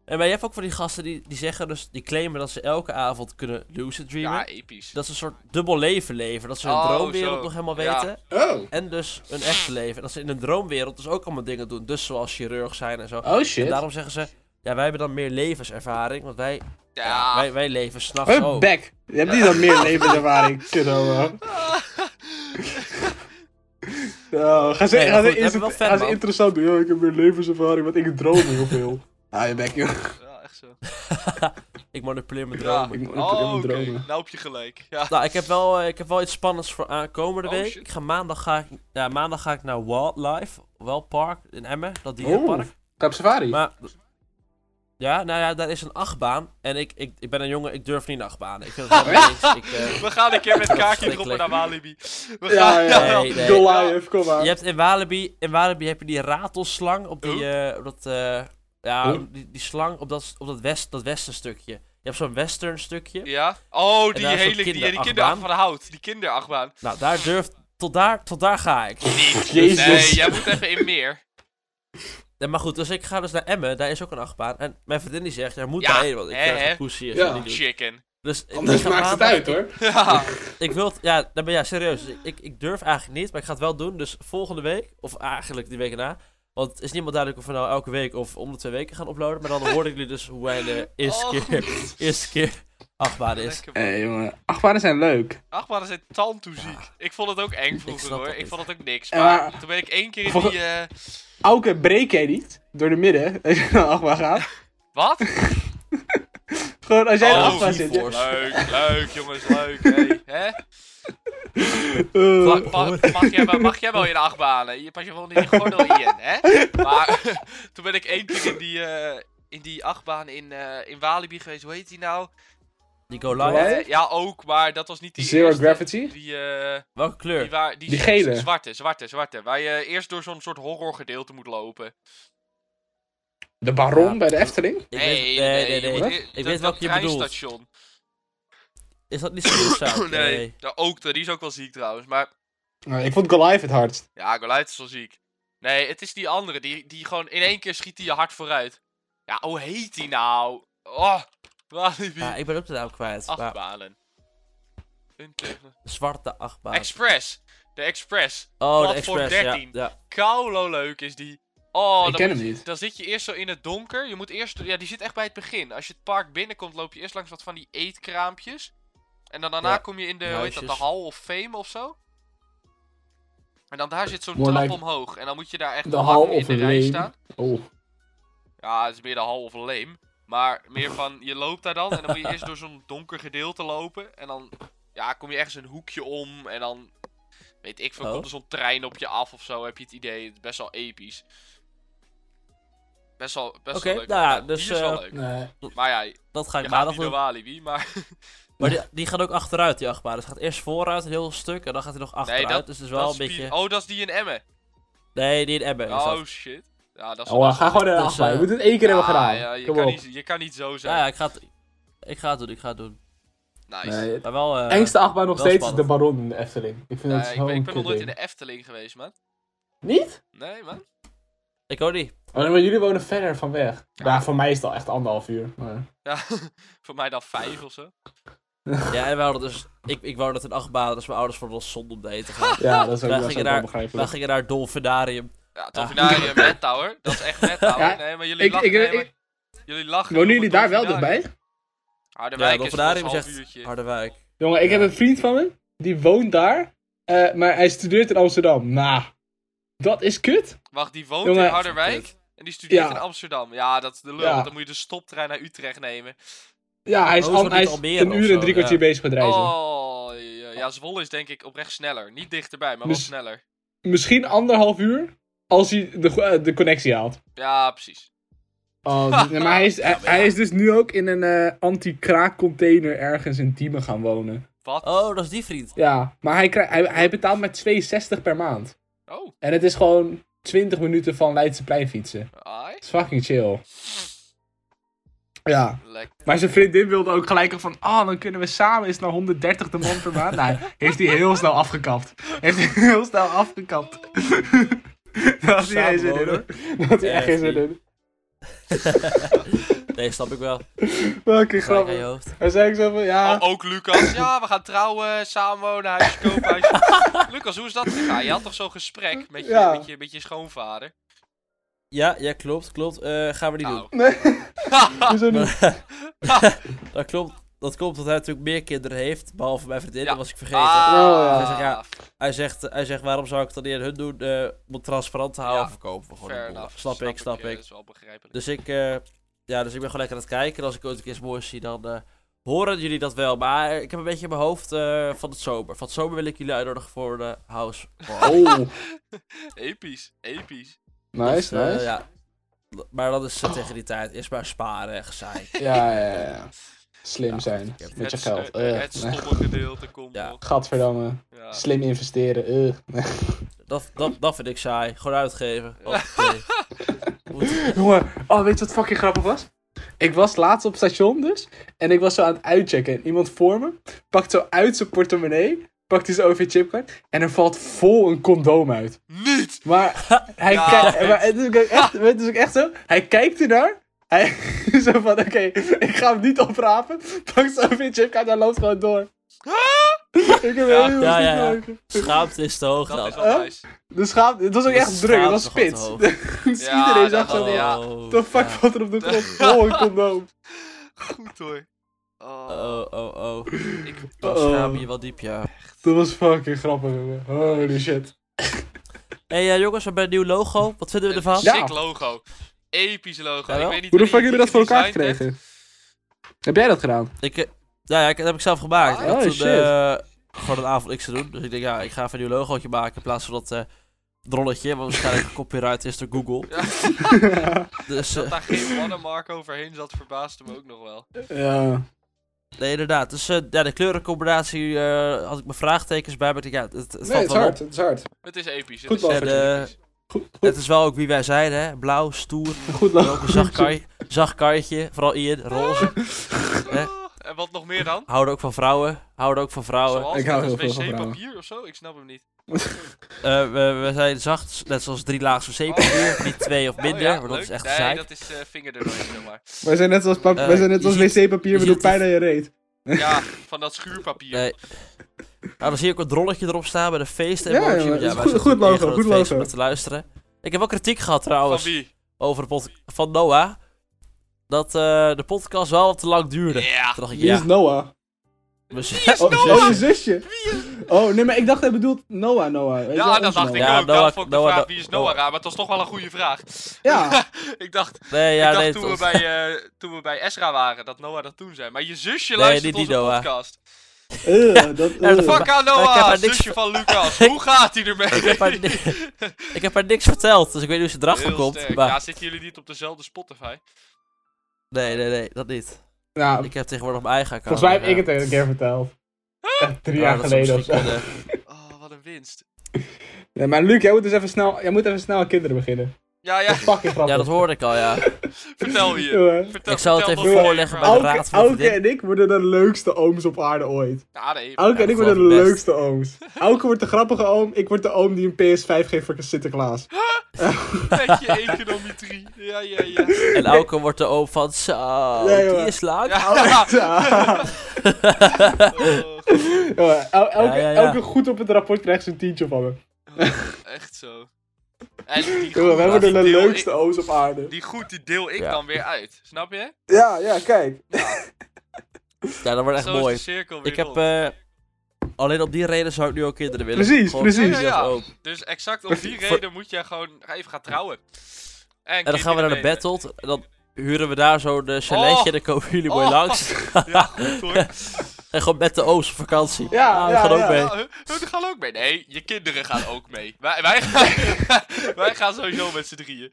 Speaker 3: En maar je hebt ook van die gasten die, die zeggen dus, die claimen dat ze elke avond kunnen lucid dreamen.
Speaker 2: Ja, episch.
Speaker 3: Dat ze een soort dubbel leven leven. Dat ze hun
Speaker 2: Oh,
Speaker 3: droomwereld
Speaker 2: zo.
Speaker 3: nog helemaal
Speaker 2: Ja.
Speaker 3: weten.
Speaker 1: Oh.
Speaker 3: En dus hun echte leven. En dat ze in hun droomwereld dus ook allemaal dingen doen. Dus zoals chirurg zijn en zo.
Speaker 1: Oh
Speaker 3: En
Speaker 1: shit.
Speaker 3: daarom zeggen ze, ja wij hebben dan meer levenservaring. Want wij,
Speaker 2: Ja.
Speaker 3: ja, wij, wij leven s'nachts
Speaker 1: Huh,
Speaker 3: ook.
Speaker 1: bek. Oh, Je hebt niet dan meer levenservaring. Kut homo. Ja, ga ze,
Speaker 3: Nee, maar
Speaker 1: ga ze,
Speaker 3: goed,
Speaker 1: inter-
Speaker 3: hebben we wel vet,
Speaker 1: ga ze
Speaker 3: man.
Speaker 1: interessant doen. Ja, ik heb meer levenservaring, want ik droom heel veel. Ah, je bek, joh.
Speaker 2: Ja, echt zo.
Speaker 3: Ik manipuleer mijn
Speaker 2: Ja.
Speaker 3: dromen.
Speaker 1: Ik moet ook
Speaker 2: Oh,
Speaker 1: helemaal
Speaker 2: oké.
Speaker 1: dromen.
Speaker 2: Nou heb je gelijk. Ja.
Speaker 3: Nou, ik heb wel, eh, ik heb wel iets spannends voor aankomende
Speaker 2: Oh,
Speaker 3: week.
Speaker 2: shit.
Speaker 3: Ik ga maandag, ga ik, ja, maandag ga ik naar Wildlife, wel park in Emmen, dat
Speaker 1: Oh,
Speaker 3: dierenpark.
Speaker 1: Cap Safari.
Speaker 3: Maar, ja, nou ja, daar is een achtbaan. En ik, ik, ik ben een jongen, ik durf niet een achtbaan. Ik vind het helemaal niks. Ik, eh,
Speaker 2: We gaan een keer met kaakje
Speaker 3: Verschrikkelijk.
Speaker 2: erop naar Walibi. We
Speaker 1: Ja,
Speaker 2: gaan...
Speaker 1: ja,
Speaker 3: Nee,
Speaker 1: ja.
Speaker 3: nee.
Speaker 1: Goliath, kom maar.
Speaker 3: je hebt in Walibi, in Walibi heb je die ratelslang op die,
Speaker 2: Oh.
Speaker 3: eh, op dat, eh, ja,
Speaker 1: Oeh.
Speaker 3: die, die slang op dat, op dat, west, dat westen stukje. Je hebt zo'n western stukje.
Speaker 2: Ja? Oh, die
Speaker 3: daar is zo'n
Speaker 2: hele... Die, die
Speaker 3: kinderachtbaan.
Speaker 2: kinderachtbaan van hout. Die kinderachtbaan.
Speaker 3: Nou, daar durf, tot daar, tot daar ga ik.
Speaker 1: Jezus.
Speaker 2: Nee, jij moet even in meer.
Speaker 3: Ja, maar goed, dus ik ga dus naar Emmen, daar is ook een achtbaan. En mijn vriendin die zegt, jij moet
Speaker 2: Ja,
Speaker 3: daarheen, want ik
Speaker 2: hè,
Speaker 3: krijg
Speaker 2: hè.
Speaker 3: een poes hier.
Speaker 1: Ja.
Speaker 3: zo die doet.
Speaker 2: Chicken.
Speaker 3: Dus ik-
Speaker 1: Anders
Speaker 3: ik ga
Speaker 1: maakt het uit,
Speaker 3: maandag-
Speaker 1: hoor.
Speaker 2: Ja.
Speaker 3: Ik wil, het- ja, daar ben jij serieus. Ik- Ik, ik durf eigenlijk niet, maar ik ga het wel doen. Dus volgende week, of eigenlijk die week erna. Want het is niet meer duidelijk of we nou elke week of om de twee weken gaan uploaden. Maar dan horen jullie dus hoe wij de eerste
Speaker 2: Oh,
Speaker 3: keer, eerste keer achtbaan is.
Speaker 2: Lekker, man.
Speaker 1: Hé, jongen. Achtbanen zijn leuk.
Speaker 2: Achtbanen zijn tantoeziek. Ik vond het ook eng vroeger
Speaker 3: snap
Speaker 2: hoor.
Speaker 3: dat
Speaker 2: Ik
Speaker 3: niet.
Speaker 2: vond het ook niks.
Speaker 1: Ja,
Speaker 2: Maar
Speaker 1: maar-
Speaker 2: toen ben ik één keer in
Speaker 1: Vol-
Speaker 2: die... eh,
Speaker 1: Auke breek jij niet door de midden als je naar de achtbaan gaat.
Speaker 2: Wat?
Speaker 1: Gewoon als jij in de
Speaker 2: Oh,
Speaker 1: achtbaan zit.
Speaker 3: G-force.
Speaker 1: je-
Speaker 2: Leuk, leuk jongens, leuk. Hey. Hè?
Speaker 1: Eh.
Speaker 2: Mag, mag, mag jij, wel- mag jij wel in de achtbanen? Je pas je wel in die gordel in, hè? Maar toen ben ik één keer in die, eh, in die achtbaan in, eh, in Walibi geweest. Hoe heet die nou?
Speaker 3: Die go
Speaker 1: Wat?
Speaker 3: live.
Speaker 2: Eh, ja, ook, maar dat was niet die
Speaker 1: Zero
Speaker 2: eerste.
Speaker 1: Gravity?
Speaker 2: Die, eh,
Speaker 3: Welke
Speaker 2: die,
Speaker 3: kleur?
Speaker 2: waar, die,
Speaker 1: Die gele.
Speaker 2: Zwarte, zwarte, zwarte. Waar je eerst door zo'n soort horrorgedeelte moet lopen.
Speaker 1: De baron
Speaker 3: Ja.
Speaker 1: bij de Efteling?
Speaker 3: Ik weet, nee, nee,
Speaker 2: je
Speaker 3: nee.
Speaker 2: moet-
Speaker 3: Ik
Speaker 2: dat-
Speaker 3: weet
Speaker 2: dat
Speaker 3: welke je bedoelt.
Speaker 2: treinstation.
Speaker 3: Is dat niet Skillsound?
Speaker 2: Oh, nee, Ja, ook, die is ook wel ziek trouwens. Maar
Speaker 1: Nou, ik vond Goliath het hardst.
Speaker 2: ja, Goliath is wel ziek. Nee, het is die andere. Die, die gewoon in één keer schiet hij je hard vooruit. Ja, hoe heet die nou? Oh, Walibi.
Speaker 3: Ja, ik ben ook de naam kwijt. maar
Speaker 2: achtbanen. Een tegen-
Speaker 3: zwarte achtbaan.
Speaker 2: Express. De Express.
Speaker 3: oh, de
Speaker 2: platform
Speaker 3: Express, ja,
Speaker 2: 13.
Speaker 3: ja.
Speaker 2: Kaulo leuk is die. Oh,
Speaker 1: ik
Speaker 2: dan
Speaker 1: ken
Speaker 2: moet
Speaker 1: hem
Speaker 2: je-
Speaker 1: niet.
Speaker 2: Dan zit je eerst zo in het donker. Je moet eerst. Ja, die zit echt bij het begin. Als je het park binnenkomt, loop je eerst langs wat van die eetkraampjes. En dan daarna
Speaker 3: Ja,
Speaker 2: kom je in de. Hoe heet dat? De
Speaker 3: huisjes.
Speaker 2: Hall of Fame of zo. En dan daar zit zo'n
Speaker 1: More
Speaker 2: trap
Speaker 1: like
Speaker 2: omhoog. En dan moet je daar echt
Speaker 1: de
Speaker 2: lang
Speaker 1: Hall
Speaker 2: in
Speaker 1: of
Speaker 2: de rij
Speaker 1: Lame.
Speaker 2: staan.
Speaker 1: Oh.
Speaker 2: Ja, het is meer de Hall of Lame. Maar meer van, je loopt daar dan en dan moet je eerst door zo'n donker gedeelte lopen. En dan ja, kom je ergens een hoekje om en dan, weet ik veel,
Speaker 3: Oh.
Speaker 2: komt er zo'n trein op je af of zo. Heb je het idee, het is best wel episch. Best wel, best
Speaker 3: Oké,
Speaker 2: wel leuk.
Speaker 3: nou ja,
Speaker 2: Die
Speaker 3: dus,
Speaker 2: is wel
Speaker 3: eh,
Speaker 2: leuk.
Speaker 1: Nee.
Speaker 2: Maar ja, je
Speaker 3: Dat ga ik
Speaker 2: gaat
Speaker 3: maandag
Speaker 2: niet naar
Speaker 3: doen.
Speaker 2: Walibi, maar...
Speaker 3: Maar die, die gaat ook achteruit, die achtbaan. Dus het gaat eerst vooruit, een heel stuk, en dan gaat hij nog achteruit.
Speaker 2: dat-
Speaker 3: dus het is
Speaker 2: dat
Speaker 3: wel
Speaker 2: is
Speaker 3: een beetje...
Speaker 2: Piet- Oh, dat is die in Emmen.
Speaker 3: Nee, die in Ebben is dat.
Speaker 2: Oh, shit. Ja, dat is
Speaker 1: Oh,
Speaker 2: dat
Speaker 1: eh,
Speaker 2: is-
Speaker 1: ga gewoon naar de
Speaker 3: Dus,
Speaker 1: achtbaan.
Speaker 3: eh,
Speaker 1: Je moet het één keer hebben
Speaker 2: Ja,
Speaker 1: gedaan.
Speaker 2: ja, je,
Speaker 1: Kom
Speaker 2: kan
Speaker 1: op.
Speaker 2: niet, je kan niet zo
Speaker 3: Ja,
Speaker 2: zijn.
Speaker 3: ja, ik ga het... Ik ga het doen, ik ga het doen.
Speaker 2: Nice.
Speaker 1: Nee, het
Speaker 3: Maar wel... eh,
Speaker 1: engste achtbaan nog
Speaker 3: wel
Speaker 1: steeds is de
Speaker 3: spannend.
Speaker 1: baron in de Efteling. Ik vind dat
Speaker 2: Ja, ik, ben,
Speaker 1: zo'n
Speaker 2: ik ben nog nooit in
Speaker 1: kutding.
Speaker 2: de Efteling geweest, man.
Speaker 1: Niet?
Speaker 2: Nee, man.
Speaker 3: Ik ook niet.
Speaker 1: Oh, nee, maar jullie wonen verder van weg. Ja, voor mij is het al echt anderhalf uur. Maar...
Speaker 2: Ja, voor mij dan vijf of zo.
Speaker 3: Ja, en we hadden dus... Ik, ik woonde in achtbaan, dus mijn ouders vonden het zonde om daarheen te gaan.
Speaker 1: Ja, dat is ook,
Speaker 3: Wij
Speaker 1: dat is
Speaker 3: gingen
Speaker 1: ook
Speaker 3: daar-
Speaker 1: wel
Speaker 3: We
Speaker 1: begrijpelijk.
Speaker 3: gingen naar het Dolfinarium.
Speaker 2: Ja, Tofinarium, Mad Tower. Dat is echt Mad Tower.
Speaker 1: Ja,
Speaker 2: nee, maar jullie
Speaker 1: Ik,
Speaker 2: lachen.
Speaker 1: ik,
Speaker 2: nee,
Speaker 1: ik,
Speaker 2: maar jullie lachen.
Speaker 1: wonen
Speaker 2: om
Speaker 1: jullie
Speaker 2: het
Speaker 1: daar wel
Speaker 2: Dolfinarium.
Speaker 1: dichtbij?
Speaker 3: Ja,
Speaker 2: Harderwijk is wel een
Speaker 3: Dolfinarium is
Speaker 2: half
Speaker 3: echt
Speaker 2: uurtje.
Speaker 3: Harderwijk.
Speaker 1: Jongen, ik heb een vriend van me. Die woont daar. eh, maar hij studeert in Amsterdam. Nou, dat is kut.
Speaker 2: Wacht, die woont
Speaker 1: Jongen.
Speaker 2: in Harderwijk en die studeert
Speaker 1: Ja.
Speaker 2: in Amsterdam. Ja, dat is de lul,
Speaker 1: Ja.
Speaker 2: want dan moet je de stoptrein naar Utrecht nemen.
Speaker 1: Ja, hij is,
Speaker 3: Oh, is dat
Speaker 1: al- hij
Speaker 3: niet
Speaker 1: is
Speaker 3: Almere
Speaker 1: een
Speaker 3: of
Speaker 1: uur
Speaker 3: zo?
Speaker 1: en drie kwartier
Speaker 3: Ja.
Speaker 1: bezig met reizen.
Speaker 2: Oh, ja, ja, Zwolle is denk ik oprecht sneller. Niet dichterbij, maar wel
Speaker 1: Dus-
Speaker 2: sneller.
Speaker 1: Misschien anderhalf uur. Als hij de, go- eh, de connectie haalt.
Speaker 2: Ja, precies.
Speaker 1: Oh, dus- nee, maar hij is, hij,
Speaker 3: maar ja.
Speaker 1: hij is dus nu ook in een eh, anti-kraakcontainer ergens in Diemen gaan wonen.
Speaker 2: Wat? Oh.
Speaker 3: Oh, dat is die vriend.
Speaker 1: Ja, maar hij, krijgt- hij, hij betaalt maar 2,60 per maand.
Speaker 2: Oh,
Speaker 1: En het is gewoon 20 minuten van Leidseplein fietsen.
Speaker 2: ai.
Speaker 1: Dat is fucking chill. Ja.
Speaker 2: Lekker.
Speaker 1: Maar zijn vriendin wilde ook gelijk van, ah, dan kunnen we samen eens naar 130 de man per maand. Nou, heeft hij heel snel afgekapt. Heeft hij heel snel afgekapt. Daar had hij geen zin in hoor. Daar had hij echt geen zin in.
Speaker 3: Nee, snap ik wel.
Speaker 1: Fucking
Speaker 3: Kijk aan je
Speaker 1: grappig.
Speaker 3: hoofd.
Speaker 1: Hij zei ik zo van, ja,
Speaker 2: Oh, ook Lucas. Ja, we gaan trouwen, samenwonen, huisje kopen, huisje... Lucas, hoe is dat gegaan? Je had toch zo'n gesprek met je,
Speaker 1: Ja.
Speaker 2: met je, met je schoonvader?
Speaker 3: Ja, ja, klopt, klopt. Eh, gaan we niet doen.
Speaker 2: Nou,
Speaker 1: nee, hoezo niet?
Speaker 3: dat klopt. Dat klopt, want hij natuurlijk meer kinderen heeft, behalve mijn vriendin,
Speaker 2: Ja.
Speaker 3: dat was ik vergeten.
Speaker 2: Ah,
Speaker 1: Oh, ja.
Speaker 3: Hij zegt, ja, Hij, zegt, hij zegt, waarom zou ik dat niet aan hun doen? Eh, om het transparant te houden,
Speaker 2: Ja,
Speaker 3: verkopen we gewoon
Speaker 2: Fair
Speaker 3: een boel.
Speaker 2: enough.
Speaker 3: Snap, ik, snap
Speaker 2: eh,
Speaker 3: ik.
Speaker 2: Dat is wel begrijpelijk.
Speaker 3: Dus ik, eh, ja, dus ik ben gewoon lekker aan het kijken. En als ik ooit een keer iets moois zie, dan eh, horen jullie dat wel. Maar ik heb een beetje in mijn hoofd eh, van het zomer. Van het zomer wil ik jullie uitnodigen voor de house.
Speaker 1: Oh,
Speaker 2: Episch, episch.
Speaker 1: nice,
Speaker 3: Eh,
Speaker 1: nice.
Speaker 3: ja. Maar dat is eh, tegen die tijd. Eerst maar sparen en gezeik.
Speaker 1: Ja, ja, ja, ja. Slim zijn,
Speaker 3: ik heb-
Speaker 1: met je
Speaker 2: het,
Speaker 1: geld.
Speaker 2: eh,
Speaker 1: Eh,
Speaker 2: het stomme gedeelte komt
Speaker 3: Ja.
Speaker 2: nog.
Speaker 1: Gadverdamme,
Speaker 2: Ja.
Speaker 1: slim investeren, eh.
Speaker 3: Dat, dat, dat vind ik saai. Gewoon uitgeven. Oké. Moet-
Speaker 1: Jongen, oh, weet je wat fucking grappig was? Ik was laatst op station dus. En ik was zo aan het uitchecken. En iemand voor me pakt zo uit zijn portemonnee. Pakt hij zijn OV-chipkaart. En er valt vol een condoom uit.
Speaker 2: Niet!
Speaker 1: Maar hij
Speaker 2: Ja,
Speaker 1: kijkt...
Speaker 2: vet.
Speaker 1: Maar het is ook echt, het is ook echt zo. Hij kijkt ernaar. Hij zo van, oké, ik ga hem niet oprapen. Pakt zijn OV-chipkaart en loopt gewoon door. Ik heb
Speaker 2: Ja,
Speaker 1: heel
Speaker 3: ja,
Speaker 1: goed
Speaker 3: ja, ja.
Speaker 1: gelachen.
Speaker 3: Schaamte is te hoog
Speaker 2: Dat
Speaker 3: dan.
Speaker 2: is wel nice.
Speaker 1: De schaap, het was ook
Speaker 3: De
Speaker 1: echt druk. Het was
Speaker 3: schaamte
Speaker 1: spits.
Speaker 3: gaat
Speaker 1: dus
Speaker 2: Ja,
Speaker 1: iedereen
Speaker 2: dat
Speaker 1: zag zo
Speaker 2: wel,
Speaker 1: van,
Speaker 2: ja.
Speaker 1: what
Speaker 3: Oh,
Speaker 1: the fuck valt er op de grond? Vol een condoom.
Speaker 2: Goed hoor. Oh,
Speaker 3: Oh, oh, oh.
Speaker 2: ik,
Speaker 3: Dan
Speaker 1: Uh-oh.
Speaker 3: schaam je je wel diep, ja.
Speaker 1: Dat was fucking grappig, jongen. Holy shit.
Speaker 3: Hé hey, eh, jongens, we hebben een nieuw logo. Wat vinden we
Speaker 2: een
Speaker 3: ervan?
Speaker 1: Ja.
Speaker 2: sick logo. Episch logo.
Speaker 3: Jawel.
Speaker 2: ik weet niet
Speaker 1: Hoe de
Speaker 2: wie-
Speaker 1: fuck jullie dat
Speaker 2: wie
Speaker 1: voor elkaar
Speaker 2: designt
Speaker 1: gekregen? Heb jij dat gedaan?
Speaker 3: Ik, eh, ja, ja, ik, dat heb ik zelf gemaakt.
Speaker 1: Ah,
Speaker 3: Ik had
Speaker 1: oh,
Speaker 3: toen,
Speaker 1: shit.
Speaker 3: eh, gewoon een avond X te doen. Dus ik denk, ja, ik ga even een nieuw logootje maken in plaats van dat eh drolletje, wat waarschijnlijk copyright is door Google.
Speaker 2: Ja,
Speaker 3: Dus eh,
Speaker 2: dat daar geen watermark overheen zat, verbaasde me ook nog wel.
Speaker 1: ja.
Speaker 3: nee, inderdaad. Dus eh, ja, de kleurencombinatie eh, had ik mijn vraagtekens bij, maar ik denk, ja, het,
Speaker 1: Nee,
Speaker 3: het valt
Speaker 1: het is
Speaker 3: wel op.
Speaker 1: hard. Het is hard.
Speaker 2: Het is episch. Het
Speaker 1: Goed
Speaker 2: is
Speaker 1: wel
Speaker 2: echt
Speaker 3: verdiend.
Speaker 2: episch.
Speaker 1: Goed,
Speaker 3: Het
Speaker 1: goed,
Speaker 3: is wel ook wie wij zijn, hè. Blauw, stoer,
Speaker 1: goed
Speaker 3: maar
Speaker 1: lopen.
Speaker 3: ook een zacht, kar, zacht karretje. Vooral Ian, roze. Hè?
Speaker 2: Ah, En wat nog meer dan?
Speaker 3: Houden ook van vrouwen. Houden ook van vrouwen.
Speaker 2: Zoals
Speaker 1: Ik hou
Speaker 2: net
Speaker 1: heel
Speaker 2: als
Speaker 1: veel van
Speaker 2: wc-papier of zo? Ik snap hem niet.
Speaker 3: Eh, we, we zijn zacht, net zoals drie laagse zeepapier. Niet twee of minder,
Speaker 2: Oh ja,
Speaker 3: want dat
Speaker 2: leuk.
Speaker 3: is echt
Speaker 2: Nee,
Speaker 3: gezeik.
Speaker 2: dat is eh, vinger er doorheen, zeg maar.
Speaker 1: Wij zijn net als, pap-
Speaker 3: Eh,
Speaker 1: wij zijn net
Speaker 3: je
Speaker 1: als
Speaker 3: ziet-
Speaker 1: wc-papier,
Speaker 3: je
Speaker 1: we doen
Speaker 3: ziet-
Speaker 1: pijn aan je reet.
Speaker 2: Ja, van dat schuurpapier.
Speaker 3: Nee. Eh, Nou, dan zie ik ook een rolletje erop staan bij de feesten.
Speaker 1: Ja,
Speaker 3: emoji,
Speaker 1: ja,
Speaker 3: want
Speaker 1: dat is
Speaker 3: wij
Speaker 1: goed-
Speaker 3: zijn
Speaker 1: goed
Speaker 3: natuurlijk
Speaker 1: logo,
Speaker 3: één
Speaker 1: goed
Speaker 3: groot feest
Speaker 1: logo.
Speaker 3: om naar te luisteren. Ik heb wel kritiek gehad
Speaker 2: Van
Speaker 3: trouwens
Speaker 2: wie?
Speaker 3: over de pod van Noah. Dat eh, de podcast wel wat te lang duurde.
Speaker 2: Ja.
Speaker 3: Toen dacht ik,
Speaker 1: Wie
Speaker 3: ja, dus-
Speaker 1: is Noah?
Speaker 3: mijn zus-
Speaker 1: Oh,
Speaker 3: mijn
Speaker 1: oh, je
Speaker 3: zus-
Speaker 1: zusje. Oh, nee, maar ik dacht hij bedoelt Noah, Noah. Weet je wel,
Speaker 2: Ja,
Speaker 1: ons
Speaker 2: dat dacht ik
Speaker 1: Noah.
Speaker 3: Ja,
Speaker 2: ook. Daarom
Speaker 3: Noah-
Speaker 2: vond ik de
Speaker 3: Noah-
Speaker 2: vraag wie is Noah
Speaker 3: Noah.
Speaker 2: raar, maar het was toch wel een goede vraag.
Speaker 1: Ja.
Speaker 2: ik dacht,
Speaker 3: Nee,
Speaker 2: ik
Speaker 3: ja,
Speaker 2: dacht
Speaker 3: nee,
Speaker 2: toen,
Speaker 3: tot-
Speaker 2: we bij, eh, toen we bij Esra waren, dat Noah dat toen zei. Maar je zusje
Speaker 3: Nee,
Speaker 2: luistert
Speaker 3: niet die
Speaker 2: onze
Speaker 3: Noah.
Speaker 2: podcast.
Speaker 1: Eh, dat,
Speaker 3: Ja, dat
Speaker 1: eh.
Speaker 2: Fuck aan
Speaker 3: ik heb
Speaker 2: Noah,
Speaker 3: haar niks
Speaker 2: zusje van Lucas. Hoe gaat hij ermee?
Speaker 3: ik, heb haar, ni- ik heb haar niks verteld, dus ik weet niet hoe ze erachter
Speaker 2: Heel
Speaker 3: komt.
Speaker 2: sterk.
Speaker 3: Maar
Speaker 2: Ja, zitten jullie niet op dezelfde Spotify?
Speaker 3: nee, nee, nee, dat niet.
Speaker 1: Ja,
Speaker 3: Ik heb tegenwoordig mijn eigen account.
Speaker 1: volgens mij heb ik
Speaker 3: ja.
Speaker 1: het een keer verteld. Echt drie
Speaker 3: Ja,
Speaker 1: jaar
Speaker 3: Ah, dat zou
Speaker 1: geleden of zo.
Speaker 3: misschien kunnen.
Speaker 2: Oh, wat een winst.
Speaker 1: Nee, maar Luc, jij moet dus even snel, jij moet even snel aan kinderen beginnen.
Speaker 2: Ja, ja,
Speaker 1: Dat is fucking
Speaker 3: Ja,
Speaker 1: grappig.
Speaker 3: dat hoorde ik al, ja.
Speaker 2: vertel hier.
Speaker 1: Jongen,
Speaker 2: Vertel,
Speaker 3: Ik zal het
Speaker 2: vertel
Speaker 3: even
Speaker 2: dat
Speaker 3: voorleggen
Speaker 2: verhaal.
Speaker 3: bij de
Speaker 1: Auke,
Speaker 3: raad van de
Speaker 1: Auke
Speaker 3: vriendin.
Speaker 1: en ik worden de leukste ooms op aarde ooit.
Speaker 2: Ja, nee,
Speaker 1: Auke en
Speaker 3: Ja,
Speaker 1: ik
Speaker 3: ik
Speaker 1: worden de
Speaker 3: geloof het best.
Speaker 1: leukste ooms. Auke wordt de grappige oom, ik word de oom die een PS5 geeft voor Sinterklaas.
Speaker 2: met je econometrie. Ja, ja, ja.
Speaker 3: En Auken wordt de oom van, zo,
Speaker 1: Nee,
Speaker 3: die
Speaker 1: jongen.
Speaker 3: is laag.
Speaker 2: ja.
Speaker 1: Ja.
Speaker 2: Oh, goed.
Speaker 1: Jongen, el- elke,
Speaker 3: Ja, ja, ja.
Speaker 1: elke goed op het rapport krijgt ze een tientje van me.
Speaker 2: Oh, Echt zo. En die
Speaker 1: Jongen,
Speaker 2: goed,
Speaker 1: wij worden de
Speaker 2: die deel
Speaker 1: leukste
Speaker 2: ik-
Speaker 1: ooms op aarde.
Speaker 2: Die goed, die deel ik
Speaker 3: Ja.
Speaker 2: dan weer uit. Snap je?
Speaker 1: Ja, ja, kijk.
Speaker 3: Ja, dat wordt echt
Speaker 2: zo
Speaker 3: mooi.
Speaker 2: is de cirkel weer
Speaker 3: Ik heb...
Speaker 2: rond.
Speaker 3: eh, alleen op die reden zou ik nu ook kinderen willen.
Speaker 1: Precies,
Speaker 3: Gewoon-
Speaker 1: precies.
Speaker 2: Ja, ja, ja.
Speaker 3: als oom.
Speaker 2: Dus exact om die
Speaker 3: Voor-
Speaker 2: reden moet jij gewoon even gaan trouwen. En,
Speaker 3: En dan gaan we naar de
Speaker 2: kinderen
Speaker 3: battle. En dan huren we daar zo'n eh, chaletje.
Speaker 2: Oh.
Speaker 3: En dan komen jullie mooi
Speaker 2: Oh.
Speaker 3: langs.
Speaker 2: nemen. Ja, goed hoor.
Speaker 3: En gewoon met de ooms op vakantie.
Speaker 1: Ja,
Speaker 3: Ah, we
Speaker 1: ja,
Speaker 3: gaan ook
Speaker 1: ja.
Speaker 3: mee.
Speaker 2: Ja, hun, Oh, hun gaan ook mee. Nee, je kinderen gaan ook mee. Wij, wij, gaan, wij gaan sowieso met z'n drieën.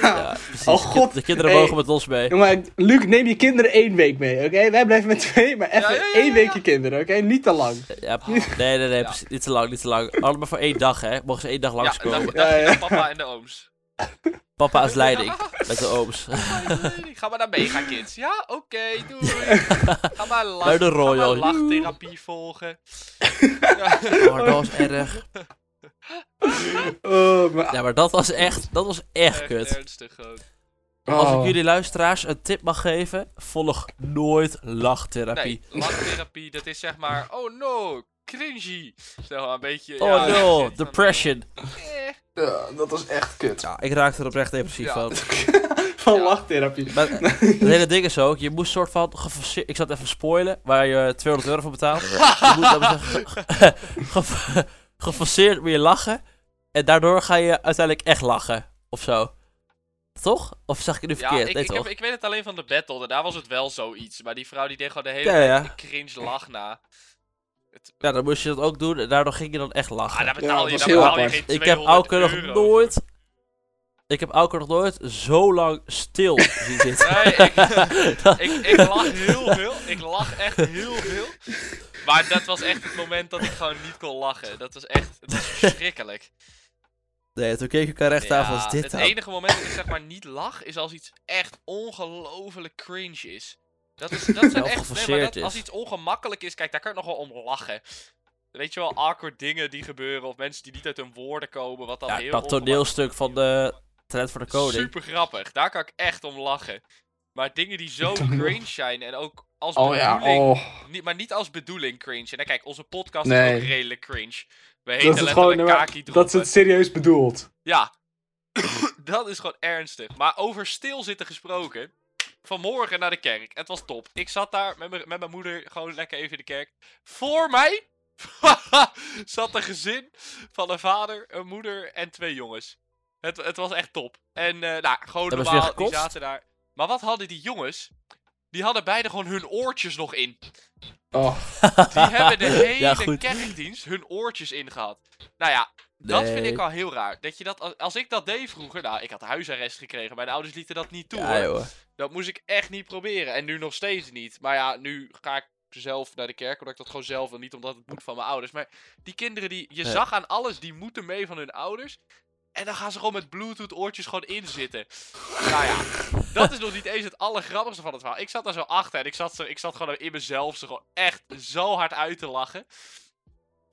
Speaker 3: Ja, precies.
Speaker 1: Oh, god.
Speaker 3: De kinderen
Speaker 1: Hey.
Speaker 3: mogen met ons mee.
Speaker 1: Jongen, Luc, neem je kinderen één week mee, oké? Wij blijven met twee, maar even
Speaker 2: Ja, ja, ja,
Speaker 1: één
Speaker 2: ja,
Speaker 1: weekje
Speaker 2: ja.
Speaker 1: kinderen, oké? Niet te lang.
Speaker 3: Ja, nee, nee, nee, precies. niet te lang, niet te lang. Allemaal voor één dag, hè. Mogen ze één dag
Speaker 2: Ja, en
Speaker 3: langskomen.
Speaker 2: dan
Speaker 1: Ja,
Speaker 2: dacht je
Speaker 1: ja.
Speaker 2: aan papa en de ooms.
Speaker 3: Papa als leiding, met de ooms.
Speaker 2: Ga maar naar mega kids. Ja, oké, doei. Ga maar
Speaker 3: Bij
Speaker 2: lachen.
Speaker 3: de Royal.
Speaker 2: Ga maar lachtherapie volgen.
Speaker 3: Oh, dat was erg.
Speaker 1: Oh, maar...
Speaker 3: Ja, maar dat was echt, dat was echt
Speaker 2: Echt
Speaker 3: kut.
Speaker 2: ernstig gewoon.
Speaker 3: Als
Speaker 1: Oh.
Speaker 3: ik jullie luisteraars een tip mag geven, volg nooit lachtherapie.
Speaker 2: Nee, lachtherapie, dat is zeg maar, oh no, cringy. Zo een beetje.
Speaker 3: Oh
Speaker 2: ja,
Speaker 3: no,
Speaker 2: shit, dan-
Speaker 3: depression.
Speaker 2: Eh,
Speaker 1: Ja, dat was echt kut.
Speaker 3: Ja, ik raakte er oprecht depressief
Speaker 2: Ja.
Speaker 3: van.
Speaker 1: Van
Speaker 2: Ja.
Speaker 1: lachtherapie.
Speaker 3: Maar eh, het hele ding is ook, je moest soort van geforceerd... Ik zat even spoilen, waar je 200 euro voor betaalt. Je moet laten we zeggen, ge- ge- geforceerd weer lachen. En daardoor ga je uiteindelijk echt lachen, of zo. Toch? Of zag ik het nu
Speaker 2: Ja,
Speaker 3: verkeerd?
Speaker 2: ik,
Speaker 3: nee,
Speaker 2: ik,
Speaker 3: toch?
Speaker 2: heb, ik weet het alleen van de battle, daar was het wel zoiets. Maar die vrouw die deed gewoon de hele
Speaker 3: Ja, ja.
Speaker 2: tijd cringe lach na.
Speaker 3: Ja, dan moest je dat ook doen en daardoor ging je dan echt lachen.
Speaker 2: Ah, daar
Speaker 1: Ja,
Speaker 2: betaal
Speaker 1: dat
Speaker 2: je,
Speaker 1: was
Speaker 2: daar
Speaker 1: heel
Speaker 2: betaal je
Speaker 1: apart.
Speaker 2: geen 200
Speaker 3: ik heb Auke nog
Speaker 2: euro.
Speaker 3: nooit... Ik heb Auke nog nooit zo lang stil zien zitten.
Speaker 2: Nee, ik, ik, ik lach heel veel. Ik lach echt heel veel. Maar dat was echt het moment dat ik gewoon niet kon lachen. Dat was echt, het was verschrikkelijk.
Speaker 3: Nee, toen keek ik elkaar recht aan van,
Speaker 2: Ja,
Speaker 3: "Wat is dit nou-"
Speaker 2: het
Speaker 3: dan?
Speaker 2: enige moment dat ik zeg maar niet lach is als iets echt ongelooflijk cringe is. Dat is dat zijn
Speaker 3: Of
Speaker 2: echt nee, maar
Speaker 3: geforceerd
Speaker 2: dat,
Speaker 3: is.
Speaker 2: als iets ongemakkelijk is, kijk, daar kan ik nog wel om lachen. Weet je wel, awkward dingen die gebeuren of mensen die niet uit hun woorden komen, wat dan
Speaker 3: Ja,
Speaker 2: heel
Speaker 3: dat toneelstuk van de Trend voor de Koning.
Speaker 2: super grappig. Daar kan ik echt om lachen. Maar dingen die zo cringe zijn en ook als
Speaker 1: Oh ja,
Speaker 2: bedoeling,
Speaker 1: oh.
Speaker 2: niet, maar niet als bedoeling cringe. En dan kijk, onze podcast
Speaker 1: Nee.
Speaker 2: is ook redelijk cringe. We
Speaker 1: Dat
Speaker 2: heten
Speaker 1: is gewoon...
Speaker 2: letterlijk
Speaker 1: nee, maar
Speaker 2: Kaki
Speaker 1: Dat is het serieus bedoeld.
Speaker 2: ja, dat is gewoon ernstig. Maar over stilzitten gesproken. Vanmorgen naar de kerk. Het was top. Ik zat daar met mijn- met mijn moeder gewoon lekker even in de kerk. Voor mij zat een gezin van een vader, een moeder en twee jongens. Het, het was echt top. En eh, nou, gewoon
Speaker 3: Hebben
Speaker 2: normaal,
Speaker 3: ze weer
Speaker 2: die
Speaker 3: gekotst?
Speaker 2: zaten daar. Maar wat hadden die jongens? Die hadden beide gewoon hun oortjes nog in.
Speaker 1: Oh,
Speaker 2: Die hebben de hele
Speaker 3: Ja, goed.
Speaker 2: kerkdienst hun oortjes in gehad. Nou ja, dat vind ik al heel raar. Dat je dat, als- als ik dat deed vroeger, nou, ik had huisarrest gekregen. Mijn ouders lieten dat niet toe.
Speaker 3: Ja,
Speaker 2: hoor.
Speaker 3: joh.
Speaker 2: Dat moest ik echt niet proberen. En nu nog steeds niet. Maar ja, nu ga ik zelf naar de kerk, omdat ik dat gewoon zelf wil. Niet omdat het moet van mijn ouders. Maar die kinderen, die, je
Speaker 3: Nee.
Speaker 2: zag aan alles, die moeten mee van hun ouders. En dan gaan ze gewoon met bluetooth oortjes gewoon inzitten. Nou ja, dat is nog niet eens het allergrappigste van het verhaal. Ik zat daar zo achter en ik zat, zo, ik zat gewoon in mezelf ze gewoon echt zo hard uit te lachen.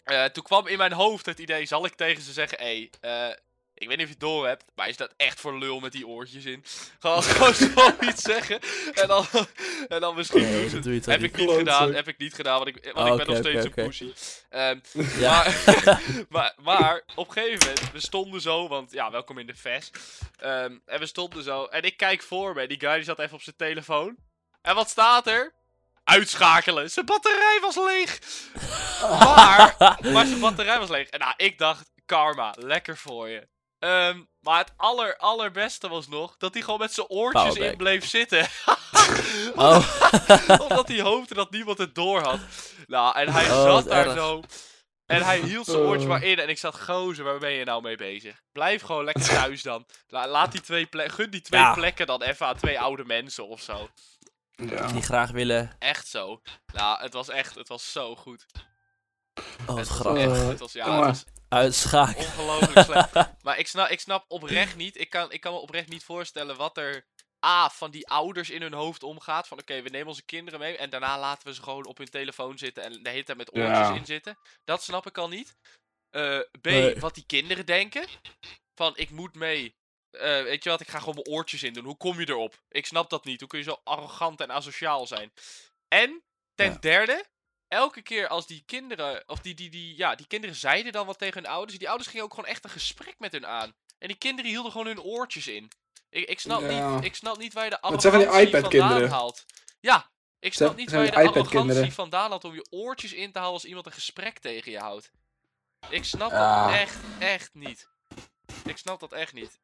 Speaker 2: Eh, toen kwam in mijn hoofd het idee, zal ik tegen ze zeggen... Hé, hey, eh, ik weet niet of je het door hebt, maar is dat echt voor lul met die oortjes in? Gewoon, gewoon zoiets zeggen. En dan, en dan misschien
Speaker 3: Nee,
Speaker 2: doen ze
Speaker 3: dat
Speaker 2: het.
Speaker 3: doe je toch
Speaker 2: Heb
Speaker 3: niet?
Speaker 2: ik niet
Speaker 1: Klootzak.
Speaker 2: gedaan, heb ik niet gedaan, want ik, want
Speaker 3: Oh,
Speaker 2: ik ben nog
Speaker 3: oké,
Speaker 2: steeds
Speaker 3: oké,
Speaker 2: een
Speaker 3: oké.
Speaker 2: pussy. Ehm,
Speaker 3: Ja.
Speaker 2: maar, maar, maar op een gegeven moment, we stonden zo, want ja, welkom in de vest. Ehm, en we stonden zo, en ik kijk voor me, en die guy die zat even op zijn telefoon. En wat staat er? Uitschakelen, zijn batterij was leeg! Maar, maar zijn batterij was leeg. En nou, ik dacht, karma, lekker voor je. Ehm, maar het aller, allerbeste was nog dat hij gewoon met zijn oortjes
Speaker 3: Powerback.
Speaker 2: in bleef zitten.
Speaker 3: Oh,
Speaker 2: Omdat hij hoopte dat niemand het door had. Nou, en hij
Speaker 3: Oh,
Speaker 2: zat
Speaker 3: wat
Speaker 2: daar
Speaker 3: erg.
Speaker 2: zo. En hij hield zijn
Speaker 1: Oh.
Speaker 2: oortje maar in. En ik zat, gozer, waar ben je nou mee bezig? Blijf gewoon lekker thuis dan. La- laat die twee ple- Gun die twee
Speaker 3: Ja.
Speaker 2: plekken dan even aan twee oude mensen of zo.
Speaker 1: ja.
Speaker 3: die graag willen.
Speaker 2: Echt zo. Nou, het was echt, het was zo goed.
Speaker 3: Oh, wat
Speaker 2: Het was
Speaker 3: grappig.
Speaker 2: echt-
Speaker 1: Eh,
Speaker 2: het was, ja, het
Speaker 1: jongen.
Speaker 2: was
Speaker 3: Uitschakelen.
Speaker 2: ongelooflijk slecht. Maar ik snap, ik snap oprecht niet, ik kan, ik kan me oprecht niet voorstellen wat er... A, van die ouders in hun hoofd omgaat. Van oké, we nemen onze kinderen mee. En daarna laten we ze gewoon op hun telefoon zitten. En de hele tijd met oortjes
Speaker 1: Ja.
Speaker 2: in zitten. Dat snap ik al niet. Eh, B,
Speaker 3: Nee.
Speaker 2: wat die kinderen denken. Van ik moet mee. Eh, weet je wat, ik ga gewoon mijn oortjes in doen. Hoe kom je erop? Ik snap dat niet. Hoe kun je zo arrogant en asociaal zijn? En ten
Speaker 3: Ja.
Speaker 2: derde, elke keer als die kinderen, of die, die, die, ja, die kinderen zeiden dan wat tegen hun ouders. Die ouders gingen ook gewoon echt een gesprek met hun aan. En die kinderen hielden gewoon hun oortjes in. Ik, ik, snap,
Speaker 1: Ja.
Speaker 2: niet, ik snap niet waar je de
Speaker 1: Het zijn van die
Speaker 2: arrogantie
Speaker 1: iPad-kinderen.
Speaker 2: vandaan haalt. Ja, ik snap
Speaker 1: zijn-
Speaker 2: niet
Speaker 1: zijn
Speaker 2: waar je de
Speaker 1: die iPad-kinderen.
Speaker 2: arrogantie vandaan haalt om je oortjes in te houden als iemand een gesprek tegen je houdt. Ik snap dat
Speaker 1: Ah.
Speaker 2: echt, echt niet. Ik snap dat echt niet.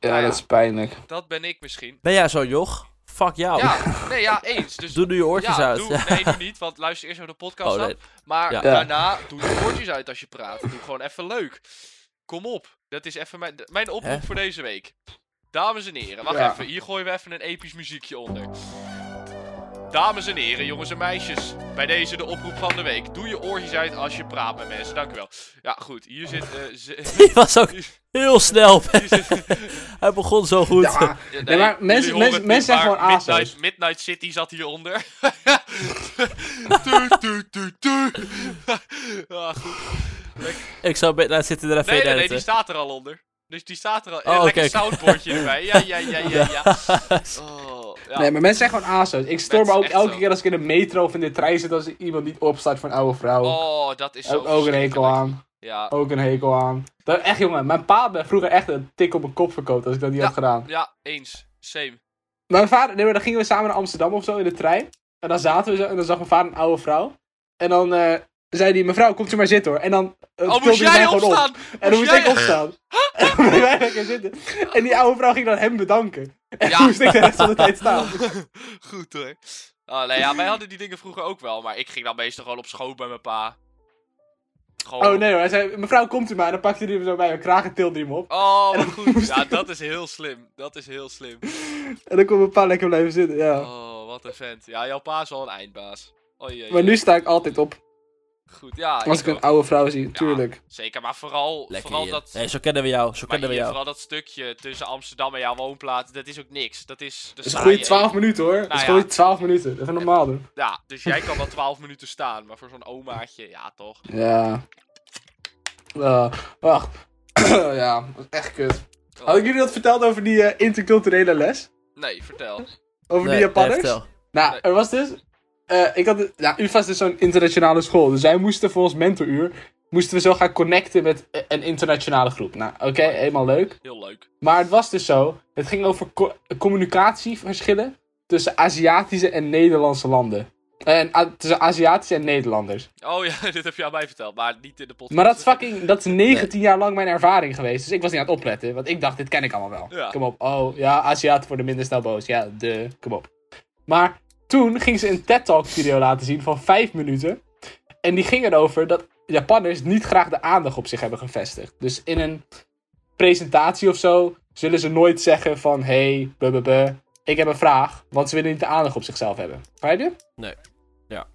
Speaker 1: ja, dat is pijnlijk.
Speaker 2: Dat ben ik misschien.
Speaker 3: Ben jij zo, joch? Fuck
Speaker 1: Nou.
Speaker 3: jou.
Speaker 2: Ja, nee, ja, eens. Dus
Speaker 3: Doe nu je oortjes
Speaker 2: ja,
Speaker 3: uit.
Speaker 2: Doe, nee, doe niet, want luister eerst naar de podcast
Speaker 3: Oh,
Speaker 2: af.
Speaker 3: nee.
Speaker 2: Maar
Speaker 3: Ja.
Speaker 1: Ja.
Speaker 2: daarna doe je oortjes uit als je praat. Doe gewoon even leuk. Kom op. Dat is even mijn, mijn oproep
Speaker 3: Hè?
Speaker 2: voor deze week. Dames en heren, wacht
Speaker 1: Ja.
Speaker 2: even. Hier gooien we even een episch muziekje onder. Dames en heren, jongens en meisjes. Bij deze de oproep van de week. Doe je oortjes uit als je praat met mensen. Dank u wel. Ja, goed. Hier zit... eh, ze-
Speaker 3: Die was ook
Speaker 2: hier-
Speaker 3: heel snel.
Speaker 2: hier zit-
Speaker 3: Hij begon zo goed.
Speaker 1: Ja,
Speaker 2: Ja,
Speaker 1: Nee, maar
Speaker 2: jullie
Speaker 1: mensen-
Speaker 2: horen
Speaker 1: mensen-
Speaker 2: het
Speaker 1: mensen
Speaker 2: niet,
Speaker 1: zeggen
Speaker 2: maar
Speaker 1: gewoon ASOS.
Speaker 2: Midnight, Midnight City zat hieronder. tu, tu, tu, tu. ah, goed.
Speaker 3: Ik zou beter zitten er even
Speaker 2: Nee,
Speaker 3: in
Speaker 2: nee, nee,
Speaker 3: editen.
Speaker 2: die staat er al onder. Dus die staat er al.
Speaker 3: Oh,
Speaker 2: Oh, lekker
Speaker 3: kijk.
Speaker 2: soundboardje erbij. Ja, ja, ja, ja, ja. Oh, ja.
Speaker 1: Nee, maar mensen zijn gewoon ASO's. Ik stoor
Speaker 2: Dat
Speaker 1: me
Speaker 2: is
Speaker 1: ook
Speaker 2: echt
Speaker 1: elke
Speaker 2: zo.
Speaker 1: keer als ik in de metro of in de trein zit als er iemand niet opstaat voor een oude vrouw.
Speaker 2: Oh, dat is zo
Speaker 1: ook, ook een hekel
Speaker 2: verschrikkelijk.
Speaker 1: aan.
Speaker 2: Ja,
Speaker 1: Ook een hekel aan. Dat, echt jongen, mijn pa had me vroeger echt een tik op mijn kop verkoopt als ik dat niet had gedaan.
Speaker 2: ja, eens. Same.
Speaker 1: Mijn vader, nee, maar dan gingen we samen naar Amsterdam of zo in de trein. En dan zaten we zo en dan zag mijn vader een oude vrouw. En dan eh, zei hij, mevrouw, komt u maar zitten hoor. En dan eh,
Speaker 2: Oh,
Speaker 1: tilde
Speaker 2: moest
Speaker 1: hij mij
Speaker 2: jij
Speaker 1: gewoon
Speaker 2: opstaan?
Speaker 1: op. En dan
Speaker 2: Moest
Speaker 1: moest ik
Speaker 2: jij-
Speaker 1: opstaan. En dan moest wij lekker zitten. En die oude vrouw ging dan hem bedanken. En
Speaker 2: Ja.
Speaker 1: toen moest ik de rest van de tijd staan.
Speaker 2: Goed hoor. Oh, nee, ja, wij hadden die dingen vroeger ook wel. Maar ik ging dan meestal gewoon op schoot bij mijn pa. Gewoon
Speaker 1: Oh nee hoor, hij zei, mevrouw, komt u maar. En dan pakte hij hem zo bij mijn kraag en tilde hij hem op.
Speaker 2: Oh, wat goed.
Speaker 1: moest
Speaker 2: Ja, dat is heel slim. Dat is heel slim.
Speaker 1: En dan kon mijn pa lekker blijven zitten, ja.
Speaker 2: Oh, wat een vent. Ja, jouw pa is wel een eindbaas. Oh jee.
Speaker 1: Maar nu sta ik altijd op.
Speaker 2: Goed, ja.
Speaker 1: Als ik
Speaker 2: ik
Speaker 1: een
Speaker 2: ook.
Speaker 1: oude vrouw zie, tuurlijk.
Speaker 2: Zeker, maar vooral,
Speaker 3: Lekker
Speaker 2: vooral
Speaker 3: Ian.
Speaker 2: dat...
Speaker 3: Nee, zo kennen we jou. Zo
Speaker 2: maar
Speaker 3: kennen we
Speaker 2: Ian,
Speaker 3: jou.
Speaker 2: vooral dat stukje tussen Amsterdam en jouw woonplaats, dat is ook niks. Dat is...
Speaker 1: Dat is een goede 12 Dus minuten hoor. Dat is
Speaker 2: Nou ja.
Speaker 1: gewoon 12 minuten. Even normaal doen.
Speaker 2: Ja, dus jij kan wel 12 minuten staan, maar voor zo'n omaatje, ja toch.
Speaker 1: Ja. Eh, wacht. ja, dat is echt kut.
Speaker 2: Oh,
Speaker 1: Hadden jullie dat verteld over die eh, interculturele les?
Speaker 2: Nee, vertel.
Speaker 1: Over
Speaker 3: Nee,
Speaker 1: die Japanners?
Speaker 3: nee, vertel.
Speaker 1: nou, er was dus... eh, ik had, nou, UvA is dus zo'n internationale school. Dus wij moesten voor ons mentoruur... Moesten we zo gaan connecten met eh, een internationale groep. Nou, oké, helemaal leuk.
Speaker 2: Heel leuk.
Speaker 1: Maar het was dus zo... Het ging over co- communicatieverschillen... tussen Aziatische en Nederlandse landen. En A- tussen Aziatische en Nederlanders.
Speaker 2: Oh ja, dit heb je aan mij verteld, maar niet in de podcast. Dus-
Speaker 1: Maar dat is fucking, dat is 19 jaar lang mijn ervaring geweest. Dus ik was niet aan het opletten, want ik dacht, dit ken ik allemaal wel.
Speaker 2: Ja.
Speaker 1: Kom op, oh ja, Aziaten worden minder snel boos. Ja, de, kom op. Maar Toen ging ze een TED-talk-video laten zien van vijf minuten. En die ging erover dat Japanners niet graag de aandacht op zich hebben gevestigd. Dus in een presentatie of zo zullen ze nooit zeggen van... Hey, blablabla, ik heb een vraag. Want ze willen niet de aandacht op zichzelf hebben. Begrijp je?
Speaker 3: Nee. Ja.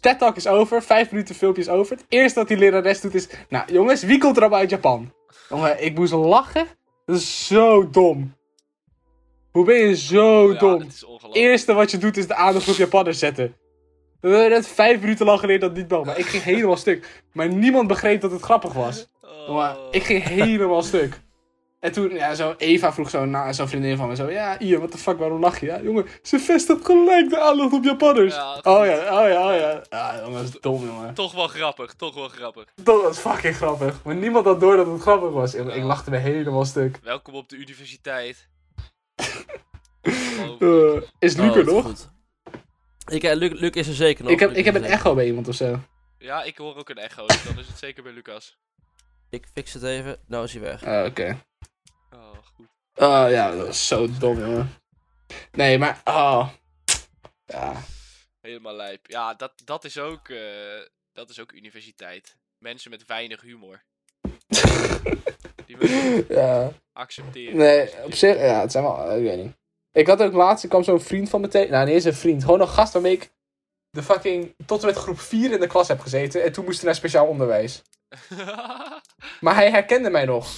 Speaker 1: TED Talk is over. Vijf minuten filmpje is over. Het eerste dat die lerares doet is... Nou jongens, wie komt er allemaal uit Japan? Jongen, ik moest lachen. Dat is zo dom. Hoe ben je zo
Speaker 2: ja,
Speaker 1: dom?
Speaker 2: dit is ongelooflijk.
Speaker 1: eerste wat je doet is de aandacht op Japanners zetten. We hebben net vijf minuten lang geleerd dat niet mag, maar ik ging helemaal stuk. Maar niemand begreep dat het grappig was.
Speaker 2: Oh.
Speaker 1: Maar ik ging helemaal stuk. En toen, ja, zo Eva vroeg zo na zo'n vriendin van me zo, ja, Ian, what the fuck, waarom lach je? Ja, jongen, ze vestigt gelijk de aandacht op Japanners.
Speaker 2: Ja, dat
Speaker 1: oh
Speaker 2: klopt.
Speaker 1: ja, oh ja, oh ja. Ja, jongen, dat is dom, jongen.
Speaker 2: Toch wel grappig, toch wel grappig.
Speaker 1: Dat was fucking grappig. Maar niemand had door dat het grappig was. Ik, ik lachte me helemaal stuk.
Speaker 2: Welkom op de universiteit. Ongelooflijk.
Speaker 1: Eh, is Luc er
Speaker 3: Oh,
Speaker 1: nog?
Speaker 3: goed. Ik, eh, Luc, Luc is er zeker nog.
Speaker 1: Ik heb,
Speaker 3: Luc
Speaker 1: ik heb
Speaker 3: is
Speaker 1: een
Speaker 3: er zeker.
Speaker 1: echo bij iemand of zo.
Speaker 2: ja, ik hoor ook een echo, dus dan is het zeker bij Lucas.
Speaker 3: Ik fix het even. Nou is hij weg.
Speaker 1: Ah, oké.
Speaker 2: Oh, goed.
Speaker 1: Oh ja, dat is zo dom, jongen. Nee, maar. Oh. Ja.
Speaker 2: Helemaal lijp. Ja, dat, dat, is ook, eh, dat is ook universiteit. Mensen met weinig humor. Die moet je
Speaker 1: ja.
Speaker 2: accepteren.
Speaker 1: Nee, op zich. Ja, het zijn wel. eh, Ik weet niet. Ik had ook laatst. Ik kwam zo'n vriend van me tegen. Nou, niet eens een vriend. Gewoon een gast waarmee ik. De fucking. Tot en met groep 4 in de klas heb gezeten. En toen moest hij naar speciaal onderwijs. Maar hij herkende mij nog.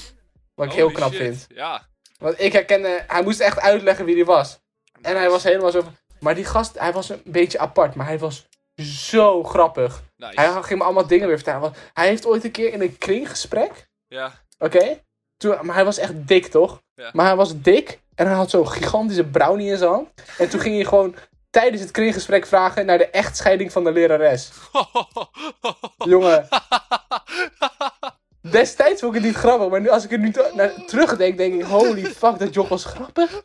Speaker 1: Wat ik heel
Speaker 2: Holy
Speaker 1: knap
Speaker 2: shit.
Speaker 1: vind.
Speaker 2: Ja.
Speaker 1: Want ik herkende. Hij moest echt uitleggen wie hij was. En hij was helemaal zo. van- Maar die gast, hij was een beetje apart. Maar hij was zo grappig.
Speaker 2: Nice.
Speaker 1: Hij ging me allemaal dingen weer vertellen. Want hij heeft ooit een keer in een kringgesprek.
Speaker 2: Ja.
Speaker 1: Oké. Toen, maar hij was echt dik, toch?
Speaker 2: Ja.
Speaker 1: Maar hij was dik. En hij had zo'n gigantische brownie in zijn hand. En toen ging hij gewoon tijdens het kringgesprek vragen naar de echtscheiding van de lerares. Jongen. Destijds vond ik het niet grappig. Maar nu, als ik er nu te- naar, terugdenk, denk ik... Holy fuck, dat job was grappig.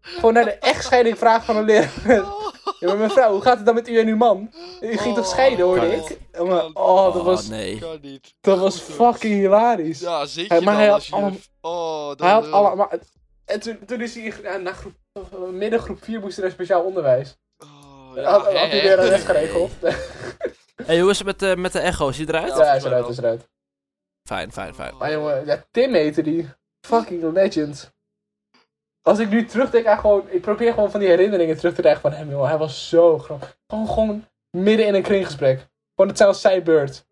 Speaker 1: Gewoon naar de echtscheiding vragen van een lerares. Ja, maar mevrouw, hoe gaat het dan met u en uw man? U ging toch scheiden, hoorde
Speaker 2: Oh,
Speaker 1: ik? Jongen, oh, dat
Speaker 3: Oh,
Speaker 1: was...
Speaker 3: nee.
Speaker 2: Kan niet.
Speaker 1: Dat was fucking hilarisch.
Speaker 2: Ja, zeker.
Speaker 1: Hey, maar dan hij had als je- allemaal-
Speaker 2: Oh, dat
Speaker 1: hij had allemaal. En toen, toen is hij in- ja, na groep, midden groep 4 moest hij naar speciaal onderwijs.
Speaker 2: Oh,
Speaker 1: had, had hij weer een les geregeld. Ja,
Speaker 3: Hey, hoe is het met, de met de echo? Is hij eruit?
Speaker 1: hij is eruit, hij is eruit.
Speaker 3: Fijn, fijn, fijn.
Speaker 1: Maar jongen, ja, Tim heette die. Fucking legend. Als ik nu terugdenk aan gewoon. Ik probeer gewoon van die herinneringen terug te krijgen van hem, jongen. Hij was zo grappig. Gewoon, gewoon midden in een kringgesprek. Gewoon hetzelfde als zijn beurt.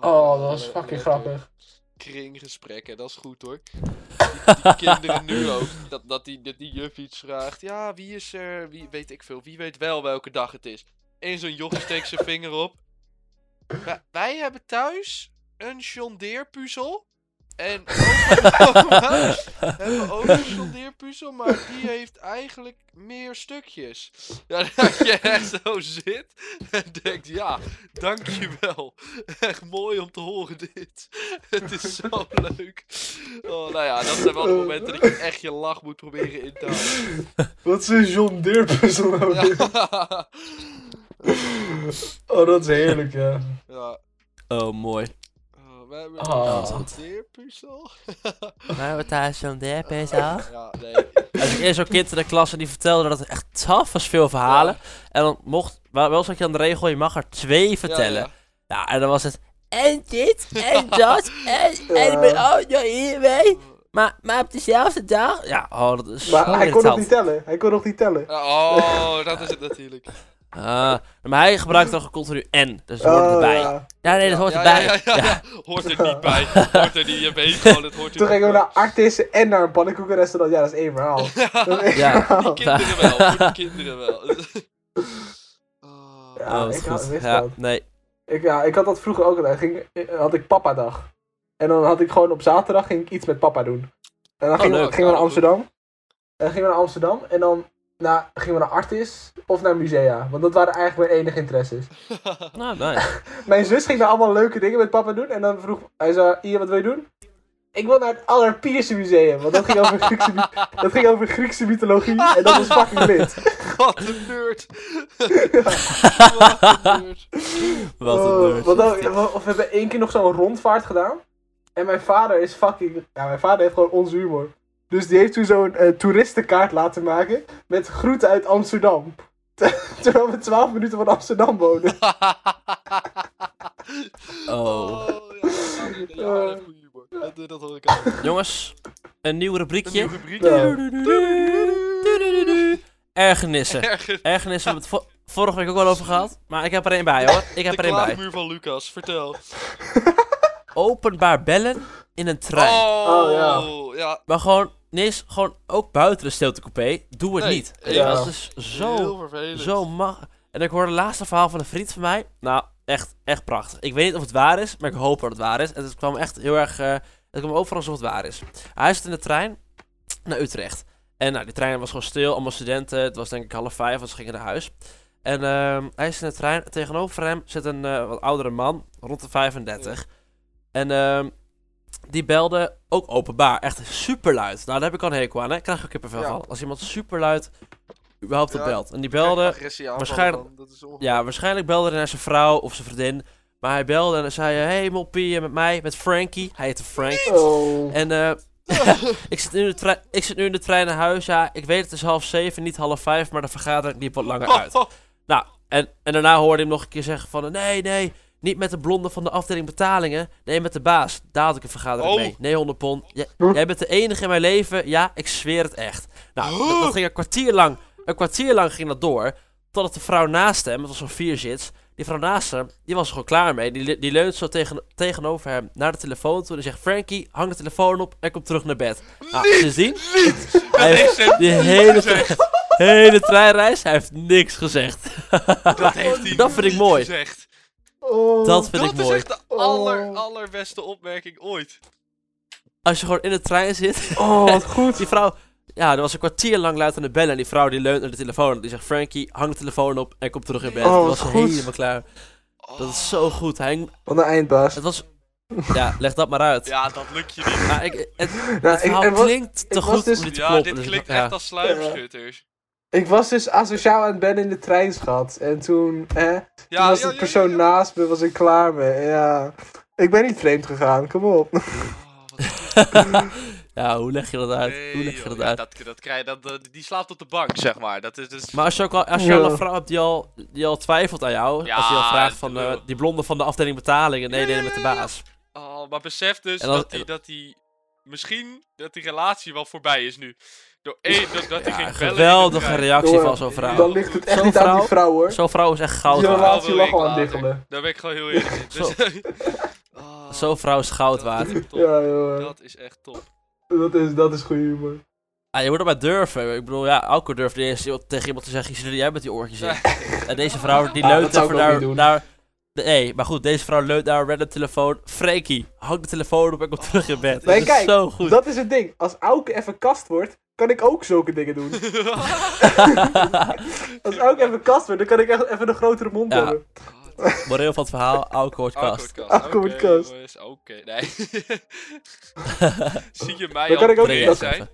Speaker 1: Oh, dat was fucking grappig.
Speaker 5: kringgesprekken. Dat is goed hoor. Die, die kinderen nu ook. Dat, dat, die, dat die juf iets vraagt. Ja, wie is er? Wie weet ik veel. Wie weet wel welke dag het is. Eén zo'n jochie steekt zijn vinger op. Wij, wij hebben thuis een jondeerpuzzel. En opa en oma hebben ook een jondeerpuzzel, maar die heeft eigenlijk meer stukjes. Ja, dat je echt zo zit en denkt, ja, dankjewel. Echt mooi om te horen dit. Het is zo leuk. Oh, nou ja, dat zijn wel de momenten dat je echt je lach moet proberen in te houden.
Speaker 1: Wat is een John Deere puzzel nou weer?
Speaker 5: Ja.
Speaker 1: Oh, dat is heerlijk, ja.
Speaker 5: ja.
Speaker 3: Oh, mooi.
Speaker 5: Oh, we hebben
Speaker 1: Oh.
Speaker 5: een jondeerpuzzel.
Speaker 3: Maar wat daar zo'n derp is
Speaker 5: Ja, nee.
Speaker 3: Als ik eerst zo'n kind in de klas en die vertelde dat het echt taf was veel verhalen. En dan mocht, wel wel zat je aan de regel, je mag er twee vertellen. Ja,
Speaker 5: Ja,
Speaker 3: en dan was het, en dit, en dat, en, en ik ben ook nog hierbij. Maar, maar op dezelfde dag. Ja, oh, dat is
Speaker 1: Maar
Speaker 3: zo
Speaker 1: hij kon nog
Speaker 3: irritant.
Speaker 1: niet tellen. Hij kon nog niet tellen.
Speaker 5: ja. Oh, dat is het natuurlijk.
Speaker 3: Ah, maar hij gebruikt dan continu en, dus het hoort
Speaker 1: Oh,
Speaker 3: erbij.
Speaker 1: ja.
Speaker 3: Ja, nee, dat hoort
Speaker 5: Ja,
Speaker 3: erbij.
Speaker 5: ja, ja, ja, ja. Hoort er niet bij. Hoort er niet, je weet gewoon, het hoort er
Speaker 1: Toen
Speaker 5: niet
Speaker 1: gingen
Speaker 5: bij.
Speaker 1: we naar Artis en naar een pannenkoekenrestaurant. Ja, dat is één verhaal. Dat is één
Speaker 3: Ja.
Speaker 1: verhaal.
Speaker 5: Kinderen wel, voor de kinderen wel. Oh,
Speaker 1: Ja,
Speaker 3: Oh, dat is
Speaker 1: Ah, ik had,
Speaker 3: goed.
Speaker 1: wist
Speaker 3: Ja,
Speaker 1: dat.
Speaker 3: nee.
Speaker 1: Ik, ja, ik had dat vroeger ook. altijd. Ging, had ik papadag. En dan had ik gewoon op zaterdag ging ik iets met papa doen. En dan gingen, we,
Speaker 5: leuk.
Speaker 1: gingen we naar
Speaker 5: Oh, goed.
Speaker 1: Amsterdam. En dan gingen we naar Amsterdam. En dan nou, gingen we naar Artis of naar musea. Want dat waren eigenlijk mijn enige interesses.
Speaker 3: Nou, nice.
Speaker 1: Mijn zus ging daar allemaal leuke dingen met papa doen. En dan vroeg hij zei, Ian, wat wil je doen? Ik wil naar het Allerpierse museum. Want dat ging over Griekse, my- dat ging over Griekse mythologie. En dat was fucking lit.
Speaker 5: Wat een nerd. Wat een nerd.
Speaker 3: Wat een
Speaker 1: Oh,
Speaker 3: nerd.
Speaker 1: want ook- we, we hebben één keer nog zo'n rondvaart gedaan. En mijn vader is fucking. Ja, mijn vader heeft gewoon onze humor. Dus die heeft toen zo'n eh, toeristenkaart laten maken met groeten uit Amsterdam. Ter- Terwijl we 12 minuten van Amsterdam wonen.
Speaker 3: Oh.
Speaker 2: ja, ja, dat is goeie humor. Dat, dat hoor ik ook.
Speaker 3: Jongens, een nieuw rubriekje.
Speaker 1: Ja.
Speaker 3: Ergernissen.
Speaker 2: Ergens.
Speaker 3: Ergernissen hebben we het vo- vorige week ook al over gehad. Maar ik heb er één bij hoor. Ik
Speaker 2: De
Speaker 3: heb er één bij.
Speaker 2: klaagmuur van Lucas, vertel.
Speaker 3: Openbaar bellen in een trein.
Speaker 2: Oh,
Speaker 1: ja.
Speaker 2: ja. ja.
Speaker 3: Maar gewoon, nee, eens gewoon ook buiten de stiltecoupé. Doe het
Speaker 2: Nee,
Speaker 3: niet.
Speaker 1: ja.
Speaker 3: Dat is zo,
Speaker 2: Heel vervelend.
Speaker 3: zo mag. En ik hoorde het laatste verhaal van een vriend van mij. Nou, echt, echt prachtig. Ik weet niet of het waar is, maar ik hoop dat het waar is. En het kwam echt heel erg, eh, het kwam overal alsof het waar is. Hij zit in de trein naar Utrecht. En nou, die trein was gewoon stil, allemaal studenten. Het was denk ik half vijf, want ze gingen naar huis. En ehm, hij is in de trein. Tegenover hem zit een eh, wat oudere man, rond de 35. En ehm, die belde ook openbaar. Echt super luid. Nou, daar heb ik al een hekel aan. Hè? Krijg ik ook kippenvel
Speaker 2: Ja.
Speaker 3: van. Als iemand super luid überhaupt op
Speaker 2: Ja,
Speaker 3: belt. En die
Speaker 2: Krijg
Speaker 3: belde
Speaker 2: agressie aan
Speaker 3: waarschijnlijk-
Speaker 2: van, Dat is ongeveer.
Speaker 3: ja, waarschijnlijk belde hij naar zijn vrouw of zijn vriendin. Maar hij belde en hij zei: Hey Moppie, met mij, met Frankie. Hij heette Frank.
Speaker 1: Oh.
Speaker 3: En eh, ik, zit nu in de trein- ik zit nu in de trein naar huis. Ja, ik weet het is half zeven, niet half vijf, maar de vergadering liep wat
Speaker 2: Oh.
Speaker 3: langer uit. Nou, en, en daarna hoorde hij hem nog een keer zeggen van... Nee, nee, niet met de blonde van de afdeling betalingen. Nee, met de baas. Daar had ik een vergadering
Speaker 2: Oh.
Speaker 3: mee. Nee, 100 pond. J- jij bent de enige in mijn leven. Ja, ik zweer het echt. Nou, dat, dat ging een kwartier lang... Een kwartier lang ging dat door. Totdat de vrouw naast hem, het was zo'n vier zits... Die vrouw naast hem, die was er gewoon klaar mee. Die, le- die leunt zo tegen, tegenover hem naar de telefoon toe. En zegt, Frankie, hang de telefoon op en kom terug naar bed. Nou, sindsdien... Hij
Speaker 6: heeft
Speaker 3: heeft
Speaker 6: ze
Speaker 3: die hele, tre- hele treinreis, hij heeft niks gezegd.
Speaker 6: Dat heeft hij
Speaker 3: Dat vind ik
Speaker 6: niet
Speaker 3: mooi.
Speaker 6: gezegd.
Speaker 1: Oh.
Speaker 3: Dat vind
Speaker 2: Dat
Speaker 3: ik
Speaker 2: is
Speaker 3: mooi.
Speaker 2: echt de aller,
Speaker 1: Oh.
Speaker 2: allerbeste opmerking ooit.
Speaker 3: Als je gewoon in de trein zit.
Speaker 1: Oh, wat goed.
Speaker 3: Die vrouw. Ja, er was een kwartier lang luid aan de bellen. En die vrouw die leunt naar de telefoon. En die zegt: Frankie, hang de telefoon op en kom terug in bed.
Speaker 1: Oh,
Speaker 3: dat
Speaker 1: wat
Speaker 3: was
Speaker 1: goed.
Speaker 3: helemaal klaar. Dat is zo goed. Hij,
Speaker 1: Wat een eindbaas.
Speaker 3: het was. Ja, leg dat maar uit.
Speaker 2: Ja, dat lukt je niet.
Speaker 3: Maar ik, het, het
Speaker 1: Nou, ik,
Speaker 3: verhaal
Speaker 1: en wat-
Speaker 3: klinkt te
Speaker 1: was
Speaker 3: goed
Speaker 1: dus-
Speaker 3: om dit te
Speaker 2: ja,
Speaker 3: kloppen.
Speaker 2: dit
Speaker 3: dus
Speaker 2: klinkt
Speaker 3: ja.
Speaker 2: echt als sluipschutters.
Speaker 1: ik was dus asociaal aan het bellen in de trein, schat. En toen, hè,
Speaker 2: Ja,
Speaker 1: toen was
Speaker 2: ja,
Speaker 1: de
Speaker 2: ja,
Speaker 1: persoon
Speaker 2: ja, ja.
Speaker 1: naast me, was ik klaar mee. Ja. Ik ben niet vreemd gegaan, kom op.
Speaker 2: Oh, wat goed.
Speaker 3: ja, hoe leg je dat uit? hoe
Speaker 2: Nee,
Speaker 3: leg
Speaker 2: joh.
Speaker 3: je dat
Speaker 2: Ja,
Speaker 3: uit?
Speaker 2: dat, dat krijg, dat, dat- die slaapt op de bank, zeg maar. Dat is, dus
Speaker 3: Maar als je ook al, als je al
Speaker 1: Ja.
Speaker 3: een vrouw hebt die al, die al twijfelt aan jou.
Speaker 2: Ja,
Speaker 3: als je al vraagt van
Speaker 2: tuurlijk.
Speaker 3: eh, die blonde van de afdeling betalingen. Nee,
Speaker 2: Ja,
Speaker 3: nee,
Speaker 2: ja,
Speaker 3: met de
Speaker 2: ja, ja.
Speaker 3: baas.
Speaker 2: Oh, maar besef dus
Speaker 3: En als-
Speaker 2: dat, die, dat die... Misschien dat die relatie wel voorbij is nu. Door één, dat, dat die
Speaker 3: Ja,
Speaker 2: ging
Speaker 3: een
Speaker 2: bellen in de
Speaker 3: geweldige
Speaker 2: trein.
Speaker 3: reactie
Speaker 1: Door-
Speaker 3: van zo'n vrouw.
Speaker 1: Dan ligt het echt
Speaker 3: Zo'n
Speaker 1: niet aan
Speaker 3: vrouw-
Speaker 1: die vrouw, hoor.
Speaker 3: Zo'n vrouw is echt goud
Speaker 1: Die
Speaker 3: waard.
Speaker 2: wel-
Speaker 1: relatie lag al aan
Speaker 2: later.
Speaker 1: diggelen.
Speaker 2: Daar ben ik gewoon heel eerlijk in.
Speaker 3: Zo.
Speaker 2: Dus, Ah,
Speaker 3: Zo'n vrouw is goud
Speaker 2: dat
Speaker 3: waard.
Speaker 2: is top.
Speaker 1: Ja, joh.
Speaker 2: Dat is echt top.
Speaker 1: Dat is, dat is goede humor.
Speaker 3: Ah, je moet er maar durven. Ik bedoel, ja, Alco durft niet eens tegen iemand te zeggen, "Zie je, jij met die oortjes in. En deze vrouw, die
Speaker 1: Ah, dat
Speaker 3: leunt
Speaker 1: zou
Speaker 3: even
Speaker 1: ik ook
Speaker 3: naar,
Speaker 1: niet doen.
Speaker 3: naar- Nee, maar goed, deze vrouw leunt naar een random telefoon. Freekie, hang de telefoon op en kom terug in bed.
Speaker 1: Nee,
Speaker 3: Dat is
Speaker 1: kijk,
Speaker 3: zo goed.
Speaker 1: Dat is het ding. Als Auke even kast wordt, kan ik ook zulke dingen doen. Als Auke even kast wordt, dan kan ik echt even een grotere mond
Speaker 3: Ja.
Speaker 1: hebben.
Speaker 3: Moreel van het verhaal, Alco wordt kast.
Speaker 2: Akkoordkast.
Speaker 1: Akkoord
Speaker 2: Oké,
Speaker 1: kast.
Speaker 2: jongens, Oké, nee. Zie je mij
Speaker 1: Dan kan
Speaker 2: al
Speaker 1: ik ook-
Speaker 2: vreemd
Speaker 1: dat-
Speaker 2: zijn?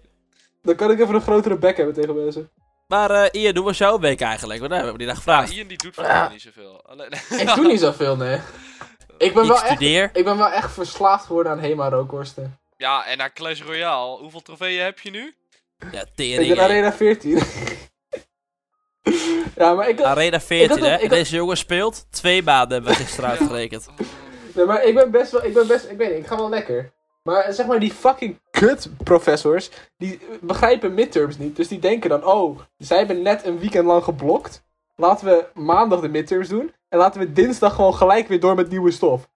Speaker 1: Dan kan ik even een grotere bek hebben tegen mensen.
Speaker 3: Maar eh Ian, hoe was jouw week eigenlijk? Want daar hebben we niet naar gevraagd.
Speaker 2: Ian die doet voor mij niet zoveel. Alleen-
Speaker 1: Ik doe niet zoveel, nee. Ik ben,
Speaker 3: Ik
Speaker 1: wel echt,
Speaker 3: studeer.
Speaker 1: ik ben wel echt verslaafd geworden aan Hema-rookworsten.
Speaker 2: Ja, en naar Clash Royale. Hoeveel trofeeën heb je nu?
Speaker 3: Ja,
Speaker 1: Ik
Speaker 3: tering.
Speaker 1: ben
Speaker 3: hè.
Speaker 1: Arena 14. ja, maar ik,
Speaker 3: Arena 14,
Speaker 1: Ik had-
Speaker 3: hè?
Speaker 1: ik had-
Speaker 3: Deze jongen speelt twee maanden, hebben we gisteren uitgerekend.
Speaker 1: nee, maar ik ben best wel... Ik ben best... Ik weet niet, ik ga wel lekker. Maar zeg maar, die fucking kut-professors, die begrijpen midterms niet. Dus die denken dan, oh, zij hebben net een weekend lang geblokt. Laten we maandag de midterms doen. En laten we dinsdag gewoon gelijk weer door met nieuwe stof.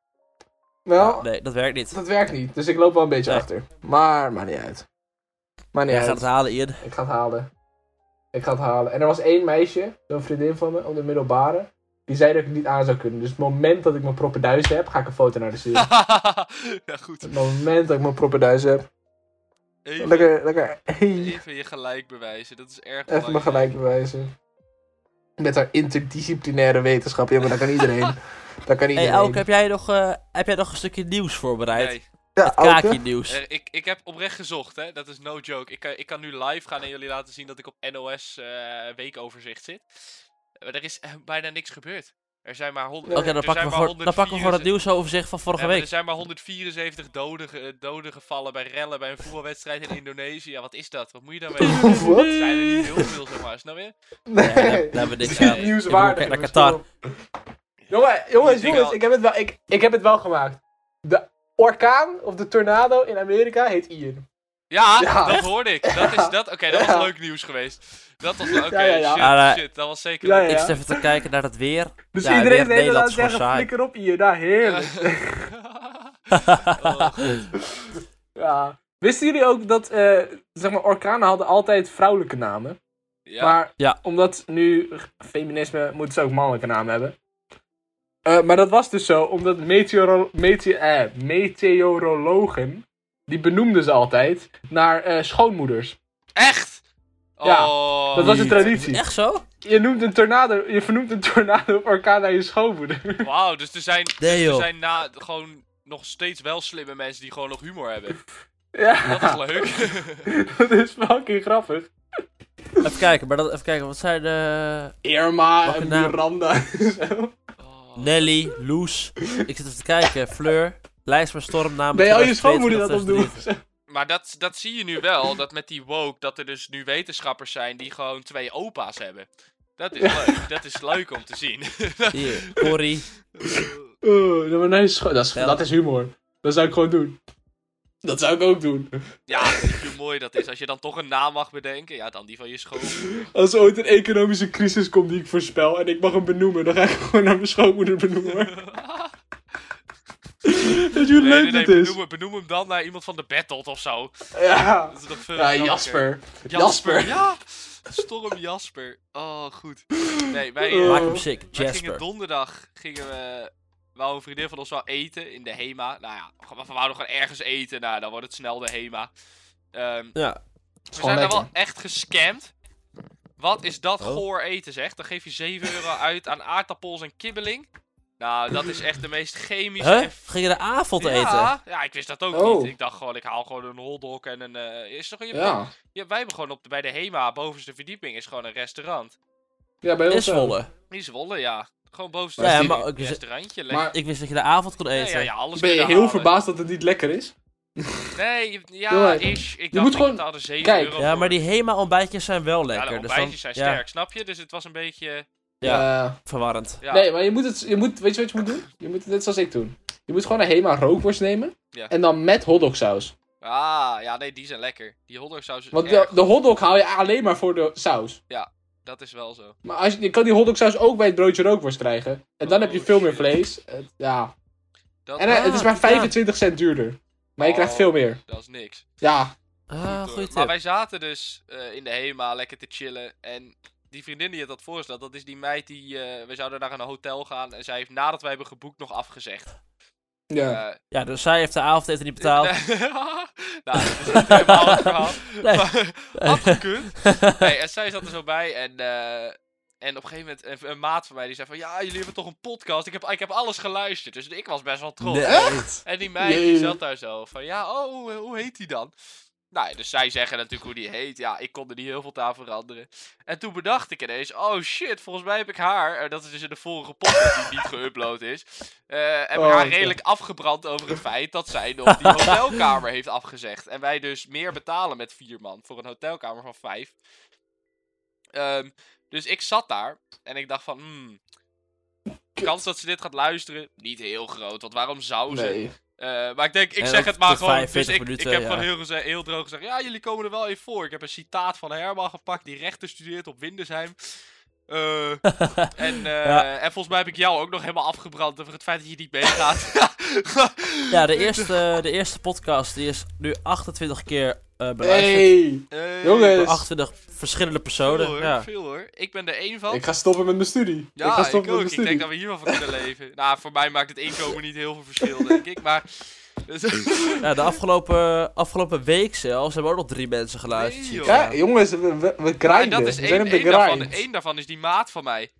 Speaker 1: Nou,
Speaker 3: Nee, dat werkt niet.
Speaker 1: dat werkt niet. Dus ik loop wel een beetje
Speaker 3: Nee.
Speaker 1: achter. Maar, maakt niet uit. Maar niet
Speaker 3: Jij
Speaker 1: uit.
Speaker 3: gaat het halen, Ian.
Speaker 1: Ik ga het halen. Ik ga het halen. En er was één meisje, een vriendin van me, op de middelbare. Die zei dat ik het niet aan zou kunnen. Dus het moment dat ik mijn proppen duizen heb, ga ik een foto naar de sturen.
Speaker 2: ja, goed.
Speaker 1: het moment dat ik mijn proppen duizen heb.
Speaker 2: Even,
Speaker 1: Lekker, lekker. Hey.
Speaker 2: even je gelijk bewijzen. Dat is
Speaker 1: Even
Speaker 2: erg
Speaker 1: mijn
Speaker 2: belangrijk.
Speaker 1: gelijk bewijzen. Met haar interdisciplinaire wetenschap. Ja, maar dat kan iedereen. Dat kan iedereen.
Speaker 3: Hey Elke, heb jij, nog, eh, heb jij nog een stukje nieuws voorbereid?
Speaker 2: Nee,
Speaker 1: ja, Auke.
Speaker 3: Kaakje nieuws.
Speaker 2: er- ik, ik heb oprecht gezocht, hè. Dat is no joke. Ik, kan- ik kan nu live gaan en jullie laten zien dat ik op NOS eh, weekoverzicht zit. Maar er is eh, bijna niks gebeurd. Er zijn maar, hond- er
Speaker 3: Oké, dan,
Speaker 2: zijn
Speaker 3: pakken we
Speaker 2: maar
Speaker 3: gewoon- dan pakken we gewoon het
Speaker 2: 174
Speaker 3: nieuwsoverzicht van vorige
Speaker 2: Ja, maar
Speaker 3: week.
Speaker 2: Er zijn maar 174 doden, ge- eh, doden gevallen bij rellen bij een voetbalwedstrijd in Indonesië. Ja, wat is dat? Wat moet je daarmee doen?
Speaker 1: Wat?
Speaker 2: Zijn er niet heel veel, zeg maar. Snap je?
Speaker 3: Ja, daar, daar hebben we niks
Speaker 2: Dit
Speaker 3: aan.
Speaker 2: is
Speaker 3: Ik
Speaker 1: nieuws
Speaker 3: bedoel,
Speaker 1: waardig.
Speaker 3: Kijk naar
Speaker 1: jongens,
Speaker 3: Qatar.
Speaker 1: kom op. Jongen, jongens,
Speaker 2: Dingen
Speaker 1: jongens,
Speaker 2: al-
Speaker 1: ik heb, het wel, ik, ik heb het wel gemaakt. De orkaan of de tornado in Amerika heet Ian.
Speaker 2: Ja,
Speaker 1: Ja.
Speaker 2: dat hoorde ik. Dat is dat. Oké, dat
Speaker 1: Ja.
Speaker 2: was leuk nieuws geweest. Dat was
Speaker 1: Ja,
Speaker 2: oké,
Speaker 1: ja, ja.
Speaker 2: shit,
Speaker 3: Ah, nee.
Speaker 2: shit. Dat was zeker
Speaker 1: Ja,
Speaker 2: leuk.
Speaker 1: ja.
Speaker 3: Ik zit even te kijken naar het weer.
Speaker 1: Dus
Speaker 3: Ja,
Speaker 1: iedereen
Speaker 3: weer
Speaker 1: in Nederland
Speaker 3: Nederlands voor
Speaker 1: zeggen,
Speaker 3: saai.
Speaker 1: flikker op Ian. Nou, heerlijk.
Speaker 2: Oh,
Speaker 1: Ja. Wisten jullie ook dat, eh, zeg maar, orkanen hadden altijd vrouwelijke namen?
Speaker 2: ja.
Speaker 1: Maar
Speaker 3: Ja.
Speaker 1: omdat nu feminisme, moeten ze ook mannelijke namen hebben. Eh, maar dat was dus zo, omdat meteoro mete- eh, meteorologen, die benoemden ze altijd naar eh, schoonmoeders.
Speaker 2: Echt?
Speaker 1: Ja,
Speaker 2: Oh.
Speaker 1: dat was een traditie.
Speaker 3: Echt zo?
Speaker 1: Je, noemt een tornado, je vernoemt een tornado of orkaan naar je schoonmoeder.
Speaker 2: Wauw, dus er zijn,
Speaker 3: Nee,
Speaker 2: er
Speaker 3: joh.
Speaker 2: zijn na, gewoon nog steeds wel slimme mensen die gewoon nog humor hebben.
Speaker 1: ja,
Speaker 2: Dat is leuk.
Speaker 1: dat is fucking grappig.
Speaker 3: Even kijken, maar dat, even kijken. Wat zijn eh, de...
Speaker 1: Irma
Speaker 3: Welke
Speaker 1: en
Speaker 3: naam?
Speaker 1: Miranda. zo.
Speaker 2: Oh.
Speaker 3: Nelly, Loes. Ik zit even te kijken. Fleur. Lijst van stormnamen.
Speaker 1: Ben je al je schoonmoeder dat opdoen?
Speaker 2: Maar dat, dat zie je nu wel, dat met die woke, dat er dus nu wetenschappers zijn die gewoon twee opa's hebben. Dat is leuk, dat is leuk om te zien.
Speaker 3: Hier, Corrie.
Speaker 1: Oh, dat, maar nee, scho- dat, is,
Speaker 3: Ja.
Speaker 1: dat is humor. Dat zou ik gewoon doen. Dat zou ik ook doen.
Speaker 2: ja, weet je hoe mooi dat is. Als je dan toch een naam mag bedenken, ja, dan die van je school.
Speaker 1: Als er ooit een economische crisis komt die ik voorspel en ik mag hem benoemen, dan ga ik gewoon naar mijn schoonmoeder benoemen. Weet je hoe
Speaker 2: Nee,
Speaker 1: leuk
Speaker 2: nee, nee,
Speaker 1: dit is?
Speaker 2: benoem, hem- benoem hem dan naar iemand van de battle of zo.
Speaker 1: Ja.
Speaker 2: Dat is nog veel
Speaker 1: Ja,
Speaker 2: leuker.
Speaker 1: Jasper.
Speaker 2: Jasper.
Speaker 1: Jasper.
Speaker 2: Ja, Storm Jasper. Oh, goed. Nee, wij, eh,
Speaker 1: Oh.
Speaker 3: Maak
Speaker 2: wij
Speaker 3: hem sick.
Speaker 2: gingen
Speaker 3: Jasper.
Speaker 2: donderdag, gingen we, wou een vriendin van ons wel eten in de HEMA. Nou ja, we gaan- we wouden gewoon ergens eten, nou dan wordt het snel de HEMA. Ehm,
Speaker 3: Ja.
Speaker 2: we
Speaker 1: gewoon
Speaker 2: zijn daar wel
Speaker 1: lekker.
Speaker 2: echt gescamd. Wat is dat
Speaker 3: Oh.
Speaker 2: goor eten zeg. Dan geef je 7 euro uit aan aardappels en kibbeling. Nou, dat is echt de meest chemische
Speaker 3: Huh?
Speaker 2: en
Speaker 3: Gingen de avond eten?
Speaker 2: ja, ja, ik wist dat ook
Speaker 1: Oh.
Speaker 2: niet. Ik dacht gewoon, ik haal gewoon een hotdog en een... eh, is toch, je, hebt-
Speaker 1: Ja.
Speaker 2: je hebt- wij hebben gewoon op, de- bij de HEMA, bovenste verdieping, is gewoon een restaurant.
Speaker 1: Ja, bij
Speaker 3: In
Speaker 1: ons eh, wel.
Speaker 3: Zwolle.
Speaker 2: Die Zwolle, ja. Gewoon bovenste
Speaker 3: Ja,
Speaker 2: verdieping,
Speaker 3: maar ook-
Speaker 2: een restaurantje. lekker.
Speaker 1: Maar
Speaker 3: Ik wist dat je de avond kon
Speaker 2: Nee, ja,
Speaker 3: eten.
Speaker 2: ja, alles
Speaker 1: ben je
Speaker 2: kunnen
Speaker 1: heel
Speaker 2: halen.
Speaker 1: verbaasd dat het niet lekker is?
Speaker 2: Nee, je- ja,
Speaker 1: Jongen,
Speaker 2: ish. Ik dacht,
Speaker 1: moet
Speaker 2: ik
Speaker 1: gewoon-
Speaker 2: betaalde 7
Speaker 1: Kijk.
Speaker 2: euro
Speaker 3: Ja,
Speaker 2: voor.
Speaker 3: maar die Hema-ontbijtjes zijn wel
Speaker 2: Ja,
Speaker 3: lekker.
Speaker 2: de
Speaker 3: dus
Speaker 2: ontbijtjes
Speaker 3: dan-
Speaker 2: zijn
Speaker 3: ja,
Speaker 2: sterk, snap je? Dus het was een beetje...
Speaker 3: Ja,
Speaker 1: Eh,
Speaker 3: verwarrend.
Speaker 2: Ja,
Speaker 1: Nee, maar je moet het, je moet, weet je wat je moet doen? Je moet het net zoals ik doen. Je moet gewoon een Hema rookworst nemen
Speaker 2: Ja.
Speaker 1: en dan met hotdogsaus.
Speaker 2: Ah, ja, nee, die zijn lekker. Die hotdogsaus is
Speaker 1: Want de,
Speaker 2: erg.
Speaker 1: de hotdog haal je alleen maar voor de saus.
Speaker 2: Dat is wel zo.
Speaker 1: Maar als je, je kan die hotdogsaus ook bij het broodje rookworst krijgen. En dan
Speaker 2: Oh,
Speaker 1: heb je veel meer
Speaker 2: shit.
Speaker 1: vlees. Het- ja.
Speaker 2: Dat, Ah,
Speaker 1: En eh, het is maar
Speaker 3: ja.
Speaker 1: 25 cent duurder. Maar je
Speaker 2: Oh.
Speaker 1: krijgt veel meer.
Speaker 2: dat is niks.
Speaker 1: Ja.
Speaker 3: Ah,
Speaker 2: Goed, hoor.
Speaker 3: goeie
Speaker 2: Maar
Speaker 3: tip.
Speaker 2: wij zaten dus eh, in de HEMA lekker te chillen. En die vriendin die het had voorgesteld, dat is die meid die... eh, we zouden naar een hotel gaan. En zij heeft nadat wij hebben geboekt nog afgezegd.
Speaker 1: Ja.
Speaker 2: Eh,
Speaker 3: Ja, dus zij heeft de avondeten niet betaald.
Speaker 2: nou, dat is niet helemaal het verhaal.
Speaker 3: Nee.
Speaker 2: Maar, afgekund. Nee, en zij zat er zo bij en... eh, en op een gegeven moment, een, een maat van mij die zei van... Ja, jullie hebben toch een podcast? Ik heb, ik heb alles geluisterd. Dus ik was best wel trots.
Speaker 1: Echt?
Speaker 2: En die meid die
Speaker 1: Jee.
Speaker 2: zat daar zo van, ja, oh, hoe, hoe heet die dan? Nou, ja, dus zij zeggen natuurlijk hoe die heet. Ja, ik kon er niet heel veel aan veranderen. En toen bedacht ik ineens, oh shit, volgens mij heb ik haar, eh, dat is dus in de vorige podcast die niet geüpload is, eh, heb ik
Speaker 1: Oh,
Speaker 2: haar
Speaker 1: oké.
Speaker 2: redelijk afgebrand over het feit dat zij nog die hotelkamer heeft afgezegd. En wij dus meer betalen met vier man voor een hotelkamer van vijf. Ehm, dus ik zat daar en ik dacht van, hmm, kans dat ze dit gaat luisteren, niet heel groot. Want waarom zou ze?
Speaker 1: Nee.
Speaker 2: Eh, maar ik denk, ik
Speaker 3: En
Speaker 2: zeg
Speaker 3: ook
Speaker 2: het maar
Speaker 3: de
Speaker 2: gewoon. dus
Speaker 3: 45
Speaker 2: ik,
Speaker 3: minuten,
Speaker 2: ik heb
Speaker 3: ja.
Speaker 2: gewoon heel, geze- heel droog gezegd. Ja, jullie komen er wel in voor. Ik heb een citaat van Herman gepakt die rechten studeert op Windesheim. Eh, en, eh,
Speaker 3: Ja.
Speaker 2: en volgens mij heb ik jou ook nog helemaal afgebrand over het feit dat je niet meegaat.
Speaker 3: Ja, de eerste, de eerste podcast die is nu 28 keer eh beluisterd.
Speaker 1: Hey.
Speaker 2: Eh,
Speaker 1: Jongens.
Speaker 3: Door 28 verschillende
Speaker 2: Veel
Speaker 3: personen.
Speaker 2: hoor,
Speaker 3: ja.
Speaker 2: veel hoor. Ik ben er één van.
Speaker 1: Ik ga stoppen met mijn studie.
Speaker 2: ja,
Speaker 1: ik ga
Speaker 2: ik,
Speaker 1: stoppen met
Speaker 2: ook.
Speaker 1: mijn
Speaker 2: Ik
Speaker 1: studie.
Speaker 2: denk dat we hiervan van kunnen leven. Nou, voor mij maakt het inkomen niet heel veel verschil, denk ik. Maar...
Speaker 3: ja, de afgelopen, afgelopen week zelfs hebben ook nog drie mensen geluisterd.
Speaker 2: Nee,
Speaker 3: zie ik.
Speaker 2: joh.
Speaker 1: Ja, jongens, we, we, we grinden.
Speaker 2: en dat is
Speaker 1: we zijn
Speaker 2: één,
Speaker 1: op de
Speaker 2: één, daarvan,
Speaker 1: grind.
Speaker 2: één daarvan is die maat van mij.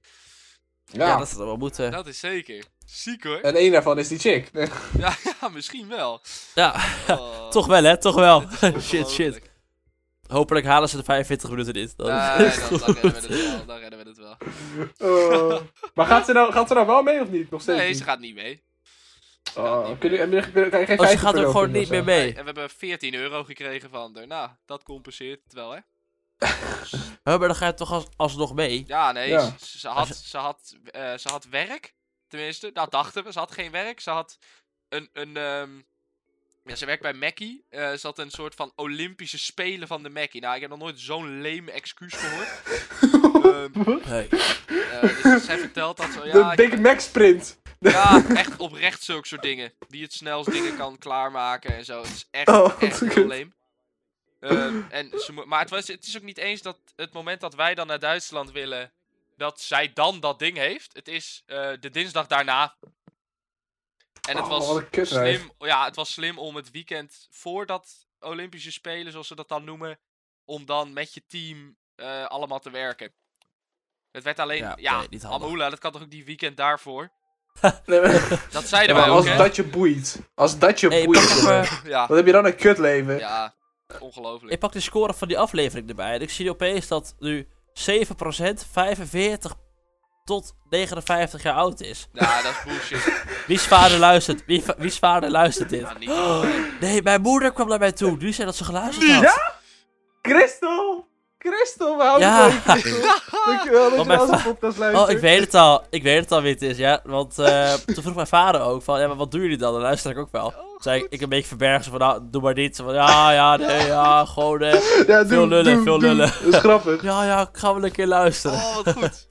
Speaker 1: ja.
Speaker 3: Ja, dat zou wel moeten.
Speaker 2: Dat is zeker. Ziek hoor.
Speaker 1: En één daarvan is die chick.
Speaker 2: Ja, ja, Ah, misschien wel.
Speaker 3: Ja,
Speaker 2: Oh,
Speaker 3: toch wel hè, toch wel.
Speaker 2: dit is
Speaker 3: shit, shit.
Speaker 2: ongelooflijk.
Speaker 3: Hopelijk halen ze de 45 minuten dit. Dan
Speaker 2: Ah,
Speaker 3: is het
Speaker 2: dan, dan redden we het wel. Dan redden we het wel.
Speaker 1: Oh. maar gaat ze, nou, gaat ze nou wel mee of niet? Nog steeds
Speaker 2: Nee,
Speaker 1: niet?
Speaker 2: ze gaat niet mee.
Speaker 1: Oh, kun je, heb je- heb je- kan je geen
Speaker 3: Oh, ze
Speaker 1: 50
Speaker 3: gaat
Speaker 1: per
Speaker 3: ook
Speaker 1: loop
Speaker 3: gewoon
Speaker 1: doen of
Speaker 3: niet
Speaker 1: zo?
Speaker 3: meer
Speaker 2: En
Speaker 3: mee.
Speaker 2: we hebben 14 euro gekregen van haar. Nou, dat compenseert het wel, hè?
Speaker 3: Huh, maar dan ga je toch als, alsnog mee?
Speaker 2: Ja, nee,
Speaker 1: Ja.
Speaker 2: Ze, ze had, ze, had, eh, ze had werk. Tenminste, dat dachten we. Ze had geen werk. Ze had een. een ehm, ja, ze werkt bij Mackie. Eh, ze had een soort van Olympische Spelen van de Mackie. Nou, ik heb nog nooit zo'n lame excuus gehoord. Ehm,
Speaker 3: Nee.
Speaker 2: eh, dus zij vertelt dat zo. Ja,
Speaker 1: De
Speaker 2: ik-
Speaker 1: Big Mac sprint.
Speaker 2: ja, echt oprecht zulke soort dingen. Die het snelst dingen kan klaarmaken en zo. Het is echt,
Speaker 1: Oh, wat
Speaker 2: echt heel
Speaker 1: kut.
Speaker 2: lame. Ehm, en ze mo- maar het, was, het is ook niet eens dat het moment dat wij dan naar Duitsland willen, dat zij dan dat ding heeft. Het is eh, de dinsdag daarna. En het
Speaker 1: Oh,
Speaker 2: was
Speaker 1: wat een kutwijf.
Speaker 2: slim. Ja, het was slim om het weekend voordat Olympische Spelen, zoals ze dat dan noemen, om dan met je team eh, allemaal te werken. Het werd alleen, ja,
Speaker 3: Ja, nee, niet handig.
Speaker 2: Amoula, dat kan toch ook die weekend daarvoor?
Speaker 1: Nee, maar-
Speaker 2: Dat zeiden
Speaker 1: Ja, maar
Speaker 2: wij ook,
Speaker 1: als
Speaker 2: hè?
Speaker 1: dat je boeit. Als dat je
Speaker 3: Hey, pak
Speaker 1: boeit. jongen.
Speaker 3: even,
Speaker 2: Ja,
Speaker 1: Wat heb je dan een kutleven?
Speaker 2: ja, ongelooflijk.
Speaker 3: ik pak de score van die aflevering erbij. En ik zie opeens dat nu 7% 45 tot 59 jaar oud is.
Speaker 2: Ja, dat is bullshit.
Speaker 3: Wie's vader luistert? Wie, va- wie's vader luistert dit?
Speaker 2: Ja, niet normaal.
Speaker 3: Nee, mijn moeder kwam naar mij toe. Die zei dat ze geluisterd had.
Speaker 1: Christel! Christel, we houden
Speaker 3: Ja.
Speaker 1: van je, Christel. Dankjewel dat
Speaker 3: Want
Speaker 1: je naar
Speaker 3: mijn
Speaker 1: onze
Speaker 3: va-
Speaker 1: podcast
Speaker 3: Oh,
Speaker 1: luistert.
Speaker 3: ik weet het al. Ik weet het al wie het is, ja. Want eh, toen vroeg mijn vader ook van, ja, maar wat doen jullie dan? Dan luister ik ook
Speaker 1: Oh,
Speaker 3: wel. Zei ik, ik een beetje verbergen, zo van, nou, doe maar dit. Zo van, ja, ja, nee, ja, gewoon, eh,
Speaker 1: Ja, doe,
Speaker 3: Veel lullen,
Speaker 1: doe,
Speaker 3: veel
Speaker 1: doe.
Speaker 3: lullen.
Speaker 1: Dat is grappig.
Speaker 3: ja, ja, ik ga wel een keer luisteren.
Speaker 2: Oh, wat goed.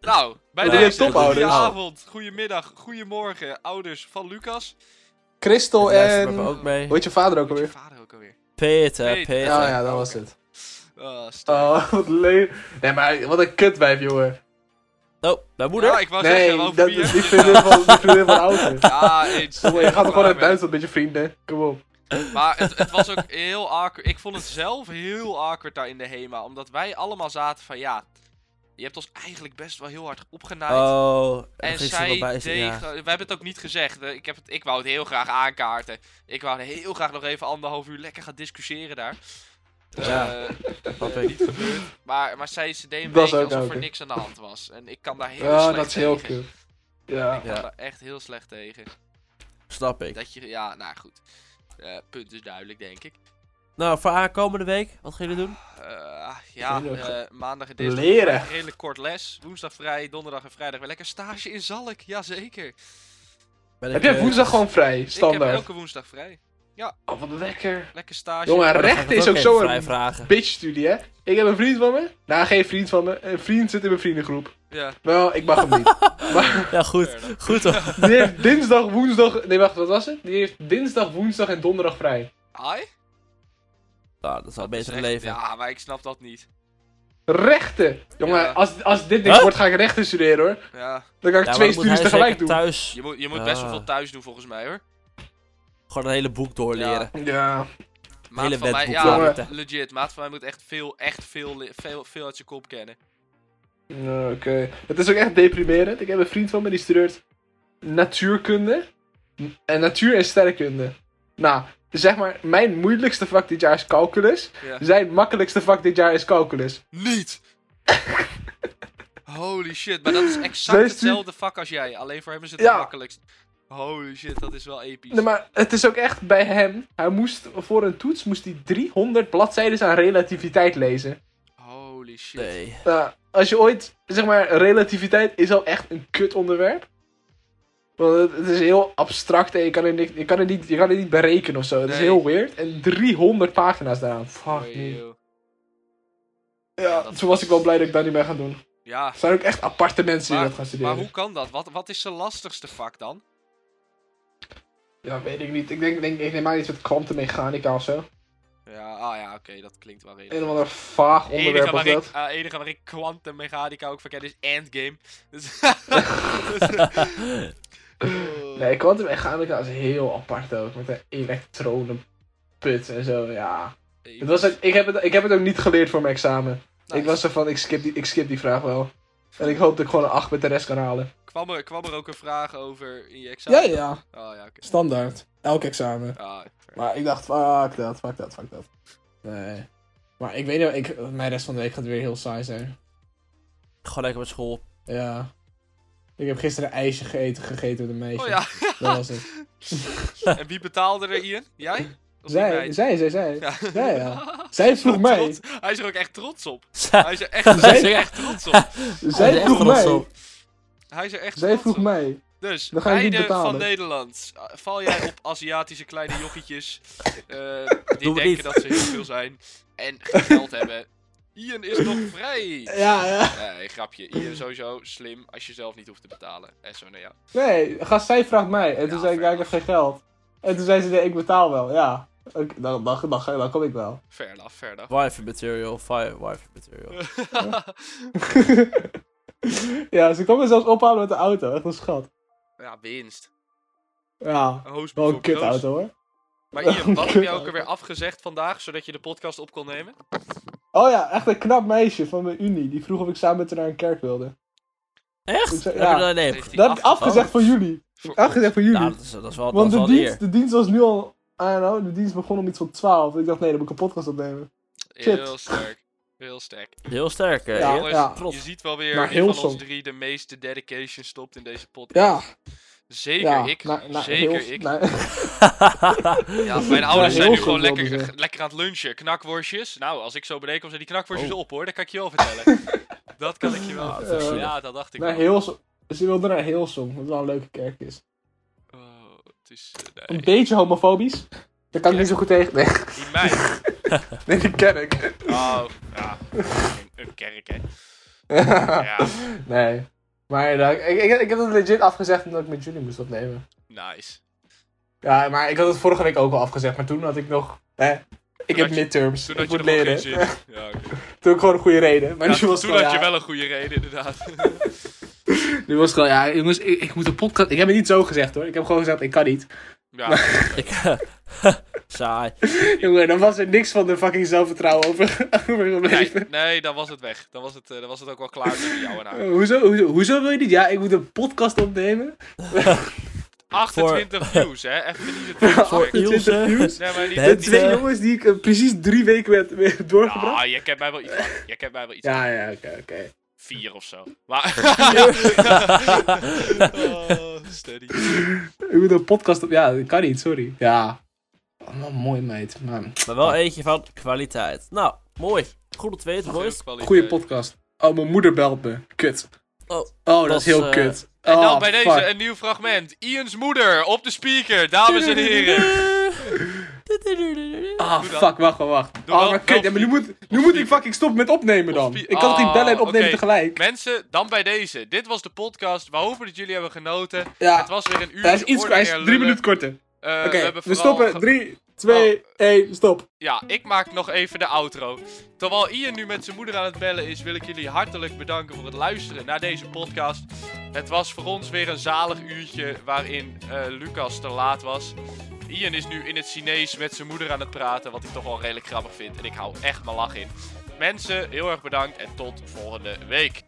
Speaker 2: Nou, bij
Speaker 1: Ja,
Speaker 2: deze.
Speaker 1: topouders.
Speaker 2: Goedenavond, goedemiddag, goedemorgen, ouders van Lucas.
Speaker 1: Christel
Speaker 3: Die luisteren
Speaker 1: Oh, en...
Speaker 3: we ook mee.
Speaker 1: Hoe heet je vader ook
Speaker 2: Met je
Speaker 1: alweer?
Speaker 2: vader ook alweer.
Speaker 3: Peter,
Speaker 2: Peter.
Speaker 1: Ja,
Speaker 3: Peter.
Speaker 1: Oh, ja, dat was het.
Speaker 2: Ah, sterk.
Speaker 1: Oh, wat leuk. Nee, maar wat een kutwijf, jongen.
Speaker 3: Oh, mijn moeder.
Speaker 2: Ja, ik wou
Speaker 1: Nee,
Speaker 2: zeggen, over
Speaker 1: dat
Speaker 2: wie
Speaker 1: is
Speaker 2: heb
Speaker 1: die
Speaker 2: je het
Speaker 1: vriendin
Speaker 2: nou?
Speaker 1: van, die vriendin van Auken.
Speaker 2: Ja, eens.
Speaker 1: Jongen, je gaat toch gewoon
Speaker 2: Klaar
Speaker 1: uit
Speaker 2: mee.
Speaker 1: Duitsland met je vrienden? Kom op.
Speaker 2: Maar het, het was ook heel awkward. Ik vond het zelf heel awkward daar in de HEMA. Omdat wij allemaal zaten van ja, je hebt ons eigenlijk best wel heel hard opgenaaid.
Speaker 3: Oh, er
Speaker 2: En
Speaker 3: ging ze
Speaker 2: zij
Speaker 3: wel bij zitten, ja.
Speaker 2: tegen... We hebben het ook niet gezegd. hè. Ik, heb het, ik wou het heel graag aankaarten. Ik wou heel graag nog even anderhalf uur lekker gaan discussiëren daar.
Speaker 3: Ja.
Speaker 2: Eh,
Speaker 3: Snap ik.
Speaker 2: maar, maar zij ze deed een
Speaker 1: Dat is
Speaker 2: beetje
Speaker 1: ook
Speaker 2: alsof er
Speaker 1: oké.
Speaker 2: niks aan de hand was. En ik kan daar heel
Speaker 1: Ja,
Speaker 2: slecht
Speaker 1: Oh, dat is heel
Speaker 2: tegen.
Speaker 1: kut. Ja.
Speaker 2: Ik kan
Speaker 3: Ja.
Speaker 2: daar echt heel slecht tegen.
Speaker 3: Snap ik.
Speaker 2: Dat je... Ja, nou goed. Eh, punt is duidelijk, denk ik.
Speaker 3: Nou, voor aankomende week, wat gaan jullie doen?
Speaker 2: Eh, ja,
Speaker 1: Heel erg.
Speaker 2: eh, maandag en dinsdag
Speaker 1: Leren.
Speaker 2: redelijk kort les. Woensdag vrij, donderdag en vrijdag weer lekker stage in Zalk. Jazeker.
Speaker 3: Ben
Speaker 1: Heb
Speaker 3: ik,
Speaker 1: jij
Speaker 3: eh,
Speaker 1: woensdag gewoon vrij,
Speaker 2: Ik heb
Speaker 1: standaard?
Speaker 2: elke woensdag vrij.
Speaker 1: Oh, wat lekker.
Speaker 2: Lekker stage.
Speaker 1: Jongen,
Speaker 3: dan ga ik
Speaker 1: recht
Speaker 3: dat
Speaker 1: is ook
Speaker 3: even
Speaker 1: zo
Speaker 3: vrij
Speaker 1: een
Speaker 3: vragen.
Speaker 1: bitch-studie, hè? Ik heb een vriend van me. Nou, geen vriend van me. Een vriend zit in mijn vriendengroep.
Speaker 2: Ja.
Speaker 1: Wel, ik mag hem niet. Maar
Speaker 3: Ja, goed.
Speaker 2: Fair enough.
Speaker 3: Goed toch?
Speaker 1: die heeft dinsdag, woensdag... Nee, wacht, wat was het? Die heeft dinsdag, woensdag en donderdag vrij.
Speaker 2: Ai?
Speaker 3: Nou, dat is al beter
Speaker 2: Echt-
Speaker 3: leven.
Speaker 2: Ja, maar ik snap dat niet.
Speaker 1: Rechten! Jongen,
Speaker 2: Ja.
Speaker 1: als, als dit niks
Speaker 3: Huh?
Speaker 1: wordt, ga ik rechten studeren, hoor.
Speaker 2: Ja.
Speaker 1: Dan kan ik
Speaker 3: Ja,
Speaker 1: twee
Speaker 3: maar dan moet hij
Speaker 1: studies
Speaker 3: zeker
Speaker 1: tegelijk doen.
Speaker 3: thuis
Speaker 2: Je moet, je moet best wel
Speaker 3: Ah.
Speaker 2: veel thuis doen volgens mij hoor.
Speaker 3: gewoon een hele boek doorleren.
Speaker 1: Ja.
Speaker 2: Maat
Speaker 3: Hele
Speaker 2: van mij,
Speaker 3: wetboek
Speaker 2: ja,
Speaker 3: laten.
Speaker 2: legit. Maat van mij moet echt veel, echt veel, li- veel, veel uit zijn kop kennen.
Speaker 1: Nou, Oké. Het is ook echt deprimerend. Ik heb een vriend van me die studeert natuurkunde en natuur- en sterrenkunde. Nou, zeg maar, mijn moeilijkste vak dit jaar is calculus.
Speaker 2: Ja.
Speaker 1: Zijn makkelijkste vak dit jaar is calculus.
Speaker 2: Niet! Holy shit, maar dat is exact
Speaker 1: Wees die-
Speaker 2: hetzelfde vak als jij. Alleen voor hem is het
Speaker 1: Ja.
Speaker 2: makkelijkst. Holy shit, dat is wel episch.
Speaker 1: Nee, maar het is ook echt bij hem. Hij moest voor een toets moest hij 300 bladzijden aan relativiteit lezen.
Speaker 2: Holy shit.
Speaker 3: Nee.
Speaker 1: Nou, als je ooit, zeg maar, relativiteit is al echt een kut onderwerp. Want het, het is heel abstract en je kan het niet, je kan het niet, je kan het niet berekenen of zo. Het is
Speaker 2: Nee.
Speaker 1: heel weird. En 300 pagina's daaraan. Fuck.
Speaker 2: Oei,
Speaker 1: me.
Speaker 2: joh. Ja,
Speaker 1: Ja,
Speaker 2: dat-
Speaker 1: toen was ik wel blij dat ik daar niet mee ga doen.
Speaker 2: Ja,
Speaker 1: Er zijn ook echt aparte mensen
Speaker 2: Maar-
Speaker 1: die dat gaan studeren.
Speaker 2: maar hoe kan dat? Wat, wat is zijn lastigste vak dan?
Speaker 1: Ja, weet ik niet. Ik denk, denk ik neem aan iets met kwantummechanica of zo.
Speaker 2: Ja, ah ja, oké, dat klinkt wel redelijk.
Speaker 1: Een of ander vaag
Speaker 2: enige
Speaker 1: onderwerp
Speaker 2: waar,
Speaker 1: of
Speaker 2: ik,
Speaker 1: dat.
Speaker 2: eh, enige waar ik kwantummechanica ook van ken is Endgame. Dus-
Speaker 1: Nee, kwantummechanica is heel apart ook. Met een elektronenput en zo, ja.
Speaker 2: Even-
Speaker 1: Het was ook- ik, heb het, ik heb het ook niet geleerd voor mijn examen.
Speaker 2: Nou,
Speaker 1: Ik was er van, ik skip, die, ik skip die vraag wel. En ik hoop dat ik gewoon een 8 met de rest kan halen.
Speaker 2: kwam, er, kwam er ook een vraag over in je
Speaker 1: Ja,
Speaker 2: examen?
Speaker 1: ja.
Speaker 2: Oh ja, oké.
Speaker 1: Standaard. Elk examen.
Speaker 2: Ah, fair.
Speaker 1: Maar ik dacht, fuck dat, fuck dat, fuck dat. Nee. Maar ik weet wel, ik, mijn rest van de week gaat weer heel saai zijn.
Speaker 3: Gewoon lekker met school.
Speaker 1: Ja. Ik heb gisteren een ijsje gegeten, gegeten met een meisje.
Speaker 2: Oh ja.
Speaker 1: Dat was het.
Speaker 2: en wie betaalde er Ian? Jij? Of die
Speaker 1: Zij,
Speaker 2: meid?
Speaker 1: zij, zij, zij. Ja.
Speaker 2: Ja.
Speaker 1: ja. Zij vroeg mij.
Speaker 2: Trots. Hij is er ook echt trots op.
Speaker 3: Zij
Speaker 2: Hij is er echt, hij is er echt trots op.
Speaker 1: Zij
Speaker 3: echt
Speaker 1: vroeg
Speaker 3: trots
Speaker 1: mij.
Speaker 3: op.
Speaker 2: Hij is er echt
Speaker 1: Zij
Speaker 2: trots
Speaker 1: vroeg
Speaker 2: op.
Speaker 1: mij.
Speaker 2: Dus,
Speaker 1: Dan ga je niet
Speaker 2: meiden van
Speaker 1: betalen.
Speaker 2: Nederland. eh, Val jij op Aziatische kleine jochietjes eh, die
Speaker 3: Doen we
Speaker 2: denken
Speaker 3: niet.
Speaker 2: dat ze heel veel zijn en geen geld hebben? Ian is nog vrij!
Speaker 1: Ja, ja.
Speaker 2: Nee, grapje. Ian sowieso slim als je zelf niet hoeft te betalen. En zo, nou ja.
Speaker 1: Nee, gast, zij vraagt mij. En toen
Speaker 2: Ja,
Speaker 1: zei ik, ja,
Speaker 2: fair
Speaker 1: ik heb geen geld. En toen zei ze, nee, ik betaal wel. Ja. Oké, dan, dan, dan, dan kom ik wel.
Speaker 2: Fair enough, fair enough.
Speaker 3: Wifi material, fi- wifi material.
Speaker 1: ja, ze kwam me zelfs ophalen met de auto. Echt een schat.
Speaker 2: ja, winst.
Speaker 1: Ja.
Speaker 2: Een hoos
Speaker 1: Wel een
Speaker 2: boven
Speaker 1: kut
Speaker 2: roos.
Speaker 1: auto hoor.
Speaker 2: Maar Ian, wat heb jij ook
Speaker 1: Kutauto.
Speaker 2: alweer afgezegd vandaag, zodat je de podcast op kon nemen?
Speaker 1: Oh ja, echt een knap meisje van mijn unie. Die vroeg of ik samen met haar naar een kerk wilde. Ik
Speaker 3: Echt?
Speaker 1: zei-
Speaker 3: Heb je
Speaker 1: ja.
Speaker 3: dat- nee,
Speaker 2: Heeft hij
Speaker 1: Dat heb ik afgezegd voor jullie.
Speaker 2: Voor
Speaker 1: Afgezegd voor
Speaker 3: nou,
Speaker 1: jullie.
Speaker 3: dat is, dat is wel, dat
Speaker 1: Want
Speaker 3: is
Speaker 1: de
Speaker 3: wel een eer.
Speaker 1: dienst, de dienst was nu al... I don't know, de dienst begon om iets van 12. Ik dacht, nee, dan moet ik een podcast opnemen.
Speaker 2: Heel sterk. Heel sterk.
Speaker 3: Heel sterk, eh,
Speaker 1: Ja,
Speaker 3: eer.
Speaker 2: Jongens,
Speaker 1: ja.
Speaker 2: je
Speaker 3: Trots.
Speaker 2: ziet wel weer
Speaker 1: Maar
Speaker 2: wie
Speaker 1: heel
Speaker 2: van ons
Speaker 1: soms.
Speaker 2: drie de meeste dedication stopt in deze podcast.
Speaker 1: Ja,
Speaker 2: Zeker
Speaker 1: ja.
Speaker 2: ik.
Speaker 1: na- na-
Speaker 2: zeker
Speaker 1: heel-
Speaker 2: ik.
Speaker 1: na-
Speaker 2: ja, mijn ouders
Speaker 1: heel
Speaker 2: zijn nu
Speaker 1: soms
Speaker 2: gewoon
Speaker 1: wel
Speaker 2: lekker,
Speaker 1: bezig.
Speaker 2: lekker aan het lunchen. Knakworstjes. Nou, als ik zo beneden kom, zijn die knakworstjes
Speaker 1: Oh.
Speaker 2: op hoor. Dat kan ik je wel vertellen. dat kan ik je wel
Speaker 3: Ah, dat
Speaker 2: vertellen.
Speaker 1: is-
Speaker 2: ja, dat dacht ik
Speaker 1: naar
Speaker 2: wel.
Speaker 1: Heelsom. Ze wilde naar Heelsom, wat wel een leuke kerk is.
Speaker 2: Oh, het is... eh,
Speaker 1: Een
Speaker 2: nee.
Speaker 1: beetje homofobisch. Daar kan ik niet zo goed tegen. Nee,
Speaker 2: Die meid.
Speaker 1: nee die kerk.
Speaker 2: Oh, ja. Een, een kerk, hè.
Speaker 1: Ah.
Speaker 2: Ja,
Speaker 1: nee. Maar ja, ik, ik, ik heb het legit afgezegd omdat ik met jullie moest opnemen.
Speaker 2: nice.
Speaker 1: Ja, maar ik had het vorige week ook al afgezegd, maar toen had ik nog... Hè, ik
Speaker 2: had
Speaker 1: heb
Speaker 2: je-
Speaker 1: midterms,
Speaker 2: Toen
Speaker 1: ik
Speaker 2: had je
Speaker 1: moet
Speaker 2: er wel geen
Speaker 1: leren.
Speaker 2: zin. in. Ja, oké.
Speaker 1: Toen ook gewoon een goede reden. Maar
Speaker 2: Ja,
Speaker 1: nu was
Speaker 2: toen
Speaker 1: het
Speaker 2: had je
Speaker 1: gewoon,
Speaker 2: wel een goede reden, inderdaad.
Speaker 1: ja, Nu was het gewoon, ja, jongens, ik, ik moet een podcast... Ik heb het niet zo gezegd, hoor. Ik heb gewoon gezegd, ik kan niet.
Speaker 2: Ja,
Speaker 3: Ik- Saai.
Speaker 1: Jongen, dan was er niks van de fucking zelfvertrouwen over, over
Speaker 2: nee,
Speaker 1: gebleven.
Speaker 2: nee, dan was het weg. Dan was het, eh, dan was het ook wel klaar tussen jou en haar.
Speaker 1: Eh, hoezo, hoezo, hoezo wil je niet? Ja, ik moet een podcast opnemen.
Speaker 2: 28 views, hè? Even niet het nieuws
Speaker 3: Voor
Speaker 2: checken.
Speaker 3: Ilse.
Speaker 1: views.
Speaker 2: Nee, maar niet,
Speaker 3: Het
Speaker 1: De
Speaker 2: niet,
Speaker 1: twee
Speaker 3: eh,
Speaker 1: jongens die ik eh, precies drie weken werd, werd doorgebracht.
Speaker 2: Ah, je kent mij wel iets. van. Je kent mij wel iets. van
Speaker 1: Ja, ja, oké, oké.
Speaker 2: Vier of zo. Maar. Ja. Oh, steady.
Speaker 1: Ik moet een podcast op... Ja, dat kan niet, sorry. Ja. Allemaal mooi, meid. Maar,
Speaker 3: Maar wel eentje van kwaliteit. Nou, mooi. Goed om te weten, boys.
Speaker 1: goeie
Speaker 2: eh,
Speaker 1: podcast. Oh, mijn moeder belt me. Kut.
Speaker 3: Oh,
Speaker 1: Oh, dat
Speaker 3: dat
Speaker 1: is heel
Speaker 3: is, eh,
Speaker 1: kut.
Speaker 2: En dan
Speaker 1: Oh,
Speaker 2: bij deze
Speaker 1: fuck.
Speaker 2: een nieuw fragment. Ian's moeder op de speaker, dames en heren.
Speaker 1: Ah,
Speaker 2: Doe dat.
Speaker 1: fuck, wacht, wacht, wacht.
Speaker 2: Doe
Speaker 1: oh, maar
Speaker 2: wel- wel
Speaker 1: kut, ja, maar nu
Speaker 2: vliegen.
Speaker 1: moet, nu moet ik fucking stoppen met opnemen dan.
Speaker 2: vlie-
Speaker 1: Ik kan het niet
Speaker 2: Ah,
Speaker 1: bellen en opnemen
Speaker 2: oké.
Speaker 1: tegelijk.
Speaker 2: Mensen, dan bij deze. Dit was de podcast. We hopen dat jullie hebben genoten.
Speaker 1: Ja,
Speaker 2: Het was weer een uur.
Speaker 1: hij is iets hij is drie minuten korter.
Speaker 2: Eh,
Speaker 1: Oké,
Speaker 2: hebben
Speaker 1: we,
Speaker 2: vooral
Speaker 1: stoppen.
Speaker 2: ge- Oh.
Speaker 1: 3, 2, 1, stop.
Speaker 2: Ja, ik maak nog even de outro. Terwijl Ian nu met zijn moeder aan het bellen is, wil ik jullie hartelijk bedanken voor het luisteren naar deze podcast. Het was voor ons weer een zalig uurtje waarin eh, Lucas te laat was. Ian is nu in het Chinees met zijn moeder aan het praten, wat ik toch wel redelijk grappig vind. En ik hou echt mijn lach in. Mensen, heel erg bedankt en tot volgende week.